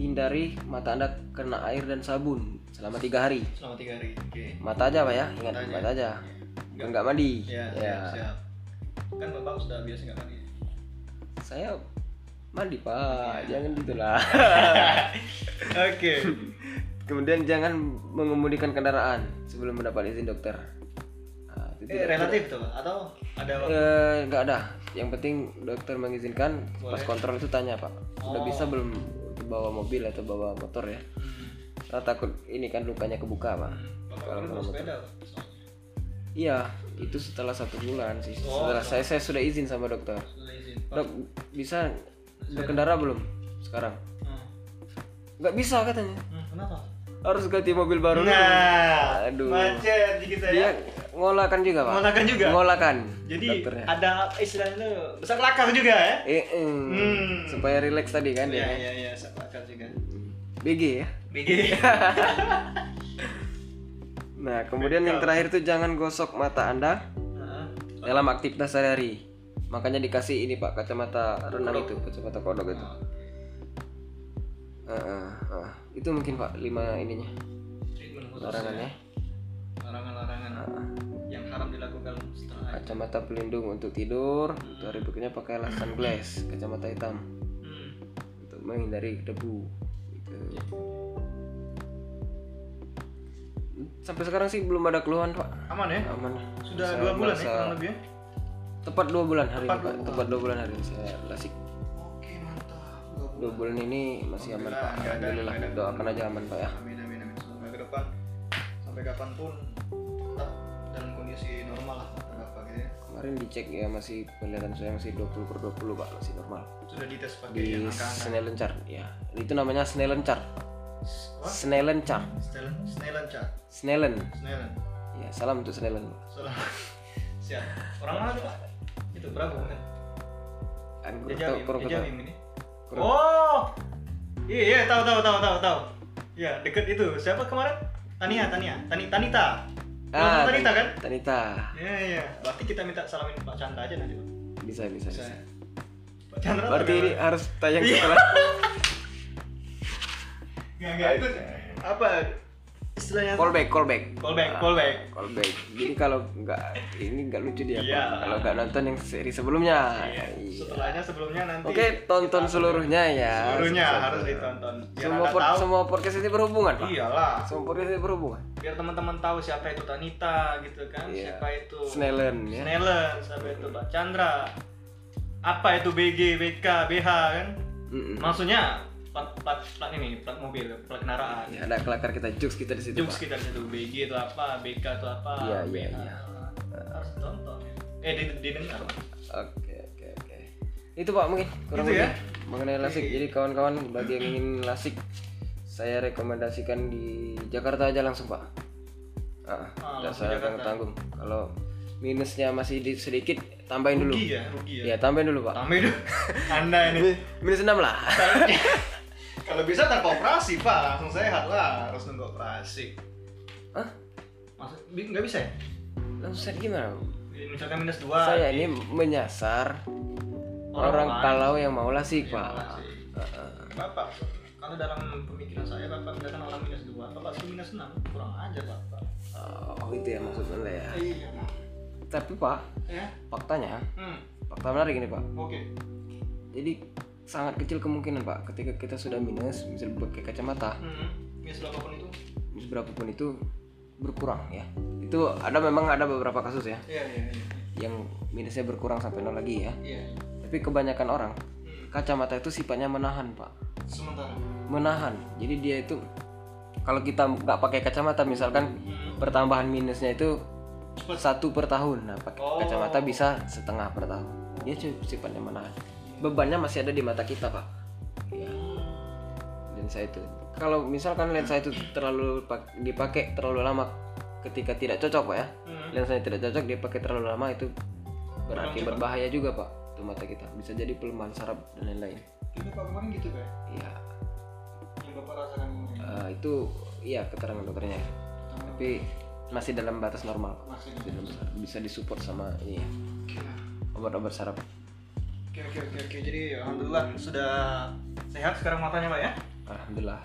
Speaker 1: hindari mata anda kena air dan sabun selama tiga hari
Speaker 2: selama tiga hari oke
Speaker 1: mata aja pak ya ingat
Speaker 2: Mata aja.
Speaker 1: mata aja
Speaker 2: Nggak-
Speaker 1: nggak mandi
Speaker 2: ya, siap siap kan bapak sudah biasa nggak mandi
Speaker 1: saya mandi pak
Speaker 2: Iya.
Speaker 1: jangan gitulah
Speaker 2: oke
Speaker 1: Kemudian jangan mengemudikan kendaraan sebelum mendapat izin dokter. Nah, itu
Speaker 2: Eh,
Speaker 1: tidak-
Speaker 2: relatif tuh atau ada
Speaker 1: Eh, nggak ada. Yang penting dokter mengizinkan pas
Speaker 2: Boleh.
Speaker 1: kontrol itu tanya pak,
Speaker 2: Oh.
Speaker 1: sudah bisa belum bawa mobil atau bawa motor ya?
Speaker 2: Hmm.
Speaker 1: Karena takut ini kan lukanya kebuka pak.
Speaker 2: bapak dulu bawa sepeda soalnya.
Speaker 1: Iya, itu setelah satu bulan sih.
Speaker 2: Oh,
Speaker 1: Setelah saya saya sudah izin sama dokter.
Speaker 2: sudah izin Pak.
Speaker 1: Dok bisa berkendara belum sekarang?
Speaker 2: Hmm.
Speaker 1: Nggak bisa katanya.
Speaker 2: Hmm, kenapa
Speaker 1: Harus ganti mobil baru. dulu.
Speaker 2: nah
Speaker 1: Aduh.
Speaker 2: macet dikit
Speaker 1: Dia ngolakan juga pak.
Speaker 2: Mengatakan juga
Speaker 1: Ngolakan.
Speaker 2: jadi
Speaker 1: dokternya.
Speaker 2: ada istilahnya besar lakar juga ya
Speaker 1: Eh, eh,
Speaker 2: Hmm.
Speaker 1: supaya relax tadi kan
Speaker 2: Iya
Speaker 1: ya.
Speaker 2: iya iya, sama akal juga. Iya.
Speaker 1: BG ya.
Speaker 2: BG.
Speaker 1: Nah, kemudian yang terakhir tuh jangan gosok mata Anda dalam aktivitas sehari-hari. Makanya dikasih ini Pak, kacamata renang itu, kacamata kodok itu. Ah, ah, ah. Itu mungkin Pak lima ininya ya.
Speaker 2: ya.
Speaker 1: larangannya.
Speaker 2: Larangan-larangan
Speaker 1: Ah.
Speaker 2: yang haram dilakukan setelah
Speaker 1: Kacamata pelindung untuk tidur, untuk hari berikutnya pakailah sunglass, kacamata hitam
Speaker 2: hmm.
Speaker 1: untuk menghindari debu. Gitu. Sampai sekarang sih belum ada keluhan Pak.
Speaker 2: Aman ya?
Speaker 1: Aman.
Speaker 2: Sudah
Speaker 1: Saya
Speaker 2: dua bulan ya
Speaker 1: merasa-
Speaker 2: kurang lebih ya?
Speaker 1: tepat dua bulan hari
Speaker 2: Tepat
Speaker 1: ini, Pak.
Speaker 2: dua
Speaker 1: tepat dua bulan hari ini saya lasik
Speaker 5: Oke mantap. Gua
Speaker 1: dua bulan ini masih aman pak
Speaker 2: Alhamdulillah, nggak ada-
Speaker 1: alhamdulillah
Speaker 2: nggak ada.
Speaker 1: doakan aja aman pak ya
Speaker 2: Amin amin amin. Semoga ke depan sampai kapanpun tetap dalam kondisi normal lah berapa gitu ya.
Speaker 1: kemarin dicek ya masih penglihatan saya masih 20 per 20 pak masih normal
Speaker 2: Sudah dites pakai
Speaker 1: di
Speaker 2: yang angka-angka.
Speaker 1: Snellen chart ya itu namanya Snellen chart
Speaker 2: Apa?
Speaker 1: Snellen chart
Speaker 2: Snellen, Snellen chart.
Speaker 1: Snellen
Speaker 2: Snellen.
Speaker 1: ya salam untuk Snellen
Speaker 2: Salah. Siap. Orang mana tuh? Pak? Itu berapa bukan?
Speaker 1: Ah, kurang tahu
Speaker 2: Jajamim,
Speaker 1: kurang tahu
Speaker 2: Jajamim ini.
Speaker 1: Kurang.
Speaker 2: Oh. Iya, iya, tahu tahu tahu tahu tahu. Iya, deket itu. Siapa kemarin? Tania, Tania, Tani, Tanita. Ah, Tanita kan?
Speaker 1: Tanita
Speaker 2: Iya, iya. Berarti kita minta salamin Pak Chandra aja nanti. Pak.
Speaker 1: bisa bisa, bisa.
Speaker 2: Saya. Pak Chandra.
Speaker 1: berarti ini harus tayang setelah
Speaker 2: Enggak, enggak itu. Apa istilahnya?
Speaker 1: callback callback Ah.
Speaker 2: Callback, callback.
Speaker 1: callback jadi kalau nggak ini nggak lucu dia Pak.
Speaker 2: Iya.
Speaker 1: kalau nggak nonton yang seri sebelumnya
Speaker 2: Iya.
Speaker 1: Iya.
Speaker 2: Setelahnya sebelumnya nanti.
Speaker 1: Oke, tonton seluruhnya ya.
Speaker 2: Seluruhnya
Speaker 1: Seluruhnya.
Speaker 2: harus ditonton. Biar
Speaker 1: Semua
Speaker 2: Anda
Speaker 1: pod-
Speaker 2: tahu. Iya.
Speaker 1: semua podcast ini berhubungan, Pak.
Speaker 2: Iyalah.
Speaker 1: Semua podcast ini berhubungan.
Speaker 2: Biar teman-teman tahu siapa itu Tanita gitu kan,
Speaker 1: Iya.
Speaker 2: siapa itu
Speaker 1: Snellen ya.
Speaker 2: Sneller, sampai itu Pak Chandra. Apa itu BG, BK, BH kan?
Speaker 1: Mm-mm.
Speaker 2: Maksudnya plat plat plat ini, plat mobil, plat kendaraan.
Speaker 1: Ya, ada kelakar kita jokes kita di situ,
Speaker 2: Jokes
Speaker 1: Pak.
Speaker 2: kita di situ BG itu apa, BK itu apa,
Speaker 1: Iya,
Speaker 2: BH.
Speaker 1: iya, iya.
Speaker 2: Harus ditonton. ya. Eh, di- didengar. Pak.
Speaker 1: Oke, oke, oke. Itu, Pak, mungkin kurang
Speaker 2: Itu ya?
Speaker 1: lebih mengenai lasik. Jadi kawan-kawan bagi yang ingin lasik saya rekomendasikan di Jakarta aja langsung, Pak. Ah,
Speaker 2: Ah,
Speaker 1: nggak
Speaker 2: langsung
Speaker 1: usah
Speaker 2: Jakarta.
Speaker 1: tanggung-tanggung. Kalau minusnya masih di sedikit, tambahin dulu.
Speaker 2: Rugi ya, rugi ya.
Speaker 1: Ya, tambahin dulu, Pak.
Speaker 2: Tambahin dulu. Anda ini.
Speaker 1: Minus 6 lah.
Speaker 2: Kalau bisa tanpa operasi, Pak. Langsung sehat lah, harus nunggu operasi.
Speaker 1: Hah?
Speaker 2: Maksud bi- nggak bisa ya?
Speaker 1: Langsung set gimana?
Speaker 2: Misalkan minus 2.
Speaker 1: saya ini menyasar orang, kalau yang mau
Speaker 2: Iya,
Speaker 1: lasik pak Ah,
Speaker 2: Bapak, kalau dalam pemikiran saya Bapak misalkan orang minus 2, Bapak suruh minus 6, kurang aja Bapak.
Speaker 1: oh itu ya maksudnya lah ya
Speaker 2: Iya, Pak.
Speaker 1: tapi pak
Speaker 2: Ya?
Speaker 1: faktanya
Speaker 2: Hmm,
Speaker 1: fakta menarik ini pak
Speaker 2: oke.
Speaker 1: jadi sangat kecil kemungkinan pak ketika kita sudah minus misal pakai kacamata
Speaker 2: Hmm, minus berapapun itu?
Speaker 1: minus berapapun itu berkurang ya itu ada memang ada beberapa kasus ya
Speaker 2: Iya, iya, iya.
Speaker 1: yang minusnya berkurang sampai nol lagi ya
Speaker 2: Iya, iya.
Speaker 1: tapi kebanyakan orang
Speaker 2: Hmm,
Speaker 1: kacamata itu sifatnya menahan pak
Speaker 2: sementara.
Speaker 1: menahan jadi dia itu kalau kita nggak pakai kacamata misalkan
Speaker 2: Hmm,
Speaker 1: pertambahan minusnya itu
Speaker 2: Cepat.
Speaker 1: satu per tahun nah pakai
Speaker 2: Oh.
Speaker 1: kacamata bisa setengah per tahun dia cukup sifatnya menahan bebannya masih ada di mata kita pak ya. lensa itu kalau misalkan lensa itu terlalu pak- dipakai terlalu lama ketika tidak cocok pak ya
Speaker 2: Hmm.
Speaker 1: lensanya tidak cocok dipakai terlalu lama itu berarti
Speaker 2: Kurang
Speaker 1: berbahaya juga pak untuk mata kita bisa jadi pelemahan saraf dan lain-lain
Speaker 6: Itu Pak kemarin gitu Pak.
Speaker 1: ya
Speaker 6: Yang Bapak rasakan kemarin.
Speaker 1: eh, itu ya keterangan dokternya
Speaker 6: Pertama,
Speaker 1: tapi masih dalam batas normal Pak.
Speaker 6: masih
Speaker 2: gitu.
Speaker 1: Masih dalam batas- bisa disupport sama ini ya,
Speaker 6: Oke, nah.
Speaker 1: obat-obat saraf
Speaker 6: Oke oke oke oke. Jadi
Speaker 2: Alhamdulillah sudah sehat sekarang matanya pak ya.
Speaker 1: alhamdulillah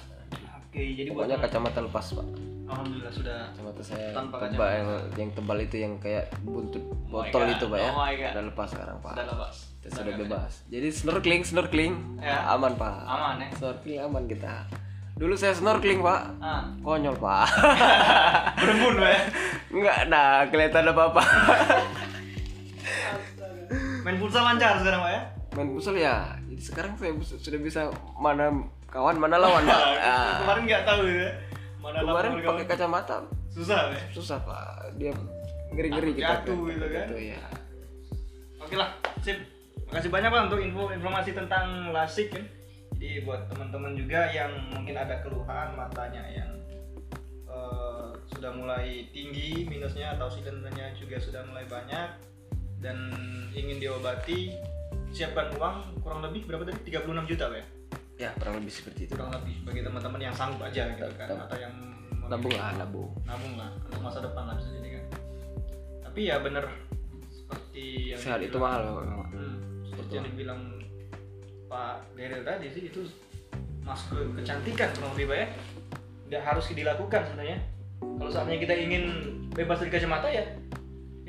Speaker 2: Oke jadi buat
Speaker 1: pokoknya kacamata lepas pak
Speaker 2: Alhamdulillah sudah.
Speaker 1: kacamata saya
Speaker 2: Tanpa
Speaker 1: tebal yang, yang tebal itu yang kayak buntut botol
Speaker 2: God.
Speaker 1: itu pak ya
Speaker 2: Oh my God.
Speaker 1: udah lepas sekarang pak
Speaker 2: Sudah lepas.
Speaker 1: Kita sudah, bebas jadi snorkeling snorkeling
Speaker 2: Ya.
Speaker 1: aman pak
Speaker 2: Aman ya.
Speaker 1: snorkeling aman kita dulu saya snorkeling pak
Speaker 2: Ah.
Speaker 1: konyol pak
Speaker 2: Berembun pak ya.
Speaker 1: nggak nah kelihatan apa apa
Speaker 2: Main futsal lancar sekarang pak ya.
Speaker 1: main futsal ya jadi sekarang saya bus- sudah bisa mana kawan mana lawan pak Ah.
Speaker 2: Kemarin nggak tahu ya. Mana
Speaker 1: kemarin
Speaker 2: lapor
Speaker 1: pakai
Speaker 2: kawan.
Speaker 1: kacamata
Speaker 2: susah pak. ya.
Speaker 1: susah pak dia ngeri ngeri
Speaker 2: Takut jatuh gitu kan.
Speaker 1: ya
Speaker 2: Oke lah, sip. Makasih banyak Pak untuk info informasi tentang lasik ya. Jadi buat teman-teman juga yang mungkin ada keluhan matanya yang eh, sudah mulai tinggi minusnya atau silindernya juga sudah mulai banyak dan ingin diobati siapkan uang kurang lebih berapa tadi 36 juta Pak ya
Speaker 1: ya kurang lebih seperti itu
Speaker 2: kurang lebih bagi teman-teman yang sanggup aja gitu kan
Speaker 1: Tam-
Speaker 2: atau yang
Speaker 1: Iya, nabung lah nabung
Speaker 2: nabung lah untuk masa depan lah bisa jadi kan tapi ya bener seperti yang
Speaker 1: sehat itu
Speaker 2: dibilang-
Speaker 1: mahal Pak.
Speaker 2: Hmm, seperti yang dibilang Pak Daryl tadi sih itu masuk ke kecantikan kurang lebih Pak, ya nggak harus dilakukan sebenarnya kalau saatnya kita ingin bebas dari kacamata ya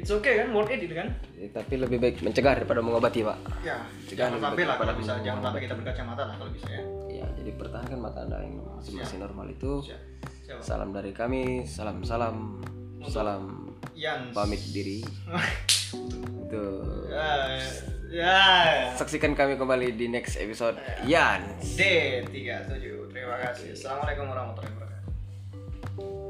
Speaker 2: it's okay kan worth it gitu kan
Speaker 1: Ya, tapi lebih baik mencegah daripada mengobati pak
Speaker 2: ya
Speaker 1: Jangan
Speaker 2: jangan sampai lah kalau
Speaker 1: pada
Speaker 2: bisa jangan sampai
Speaker 1: mengobati.
Speaker 2: kita berkacamata lah kalau bisa ya
Speaker 1: ya jadi pertahankan mata anda yang masih masih normal itu
Speaker 2: Siap. Siap.
Speaker 1: salam dari kami salam salam salam
Speaker 2: Yan
Speaker 1: pamit diri itu
Speaker 2: ya, ya.
Speaker 1: saksikan kami kembali di next episode Ya, Yan
Speaker 2: D37 terima kasih assalamualaikum warahmatullahi wabarakatuh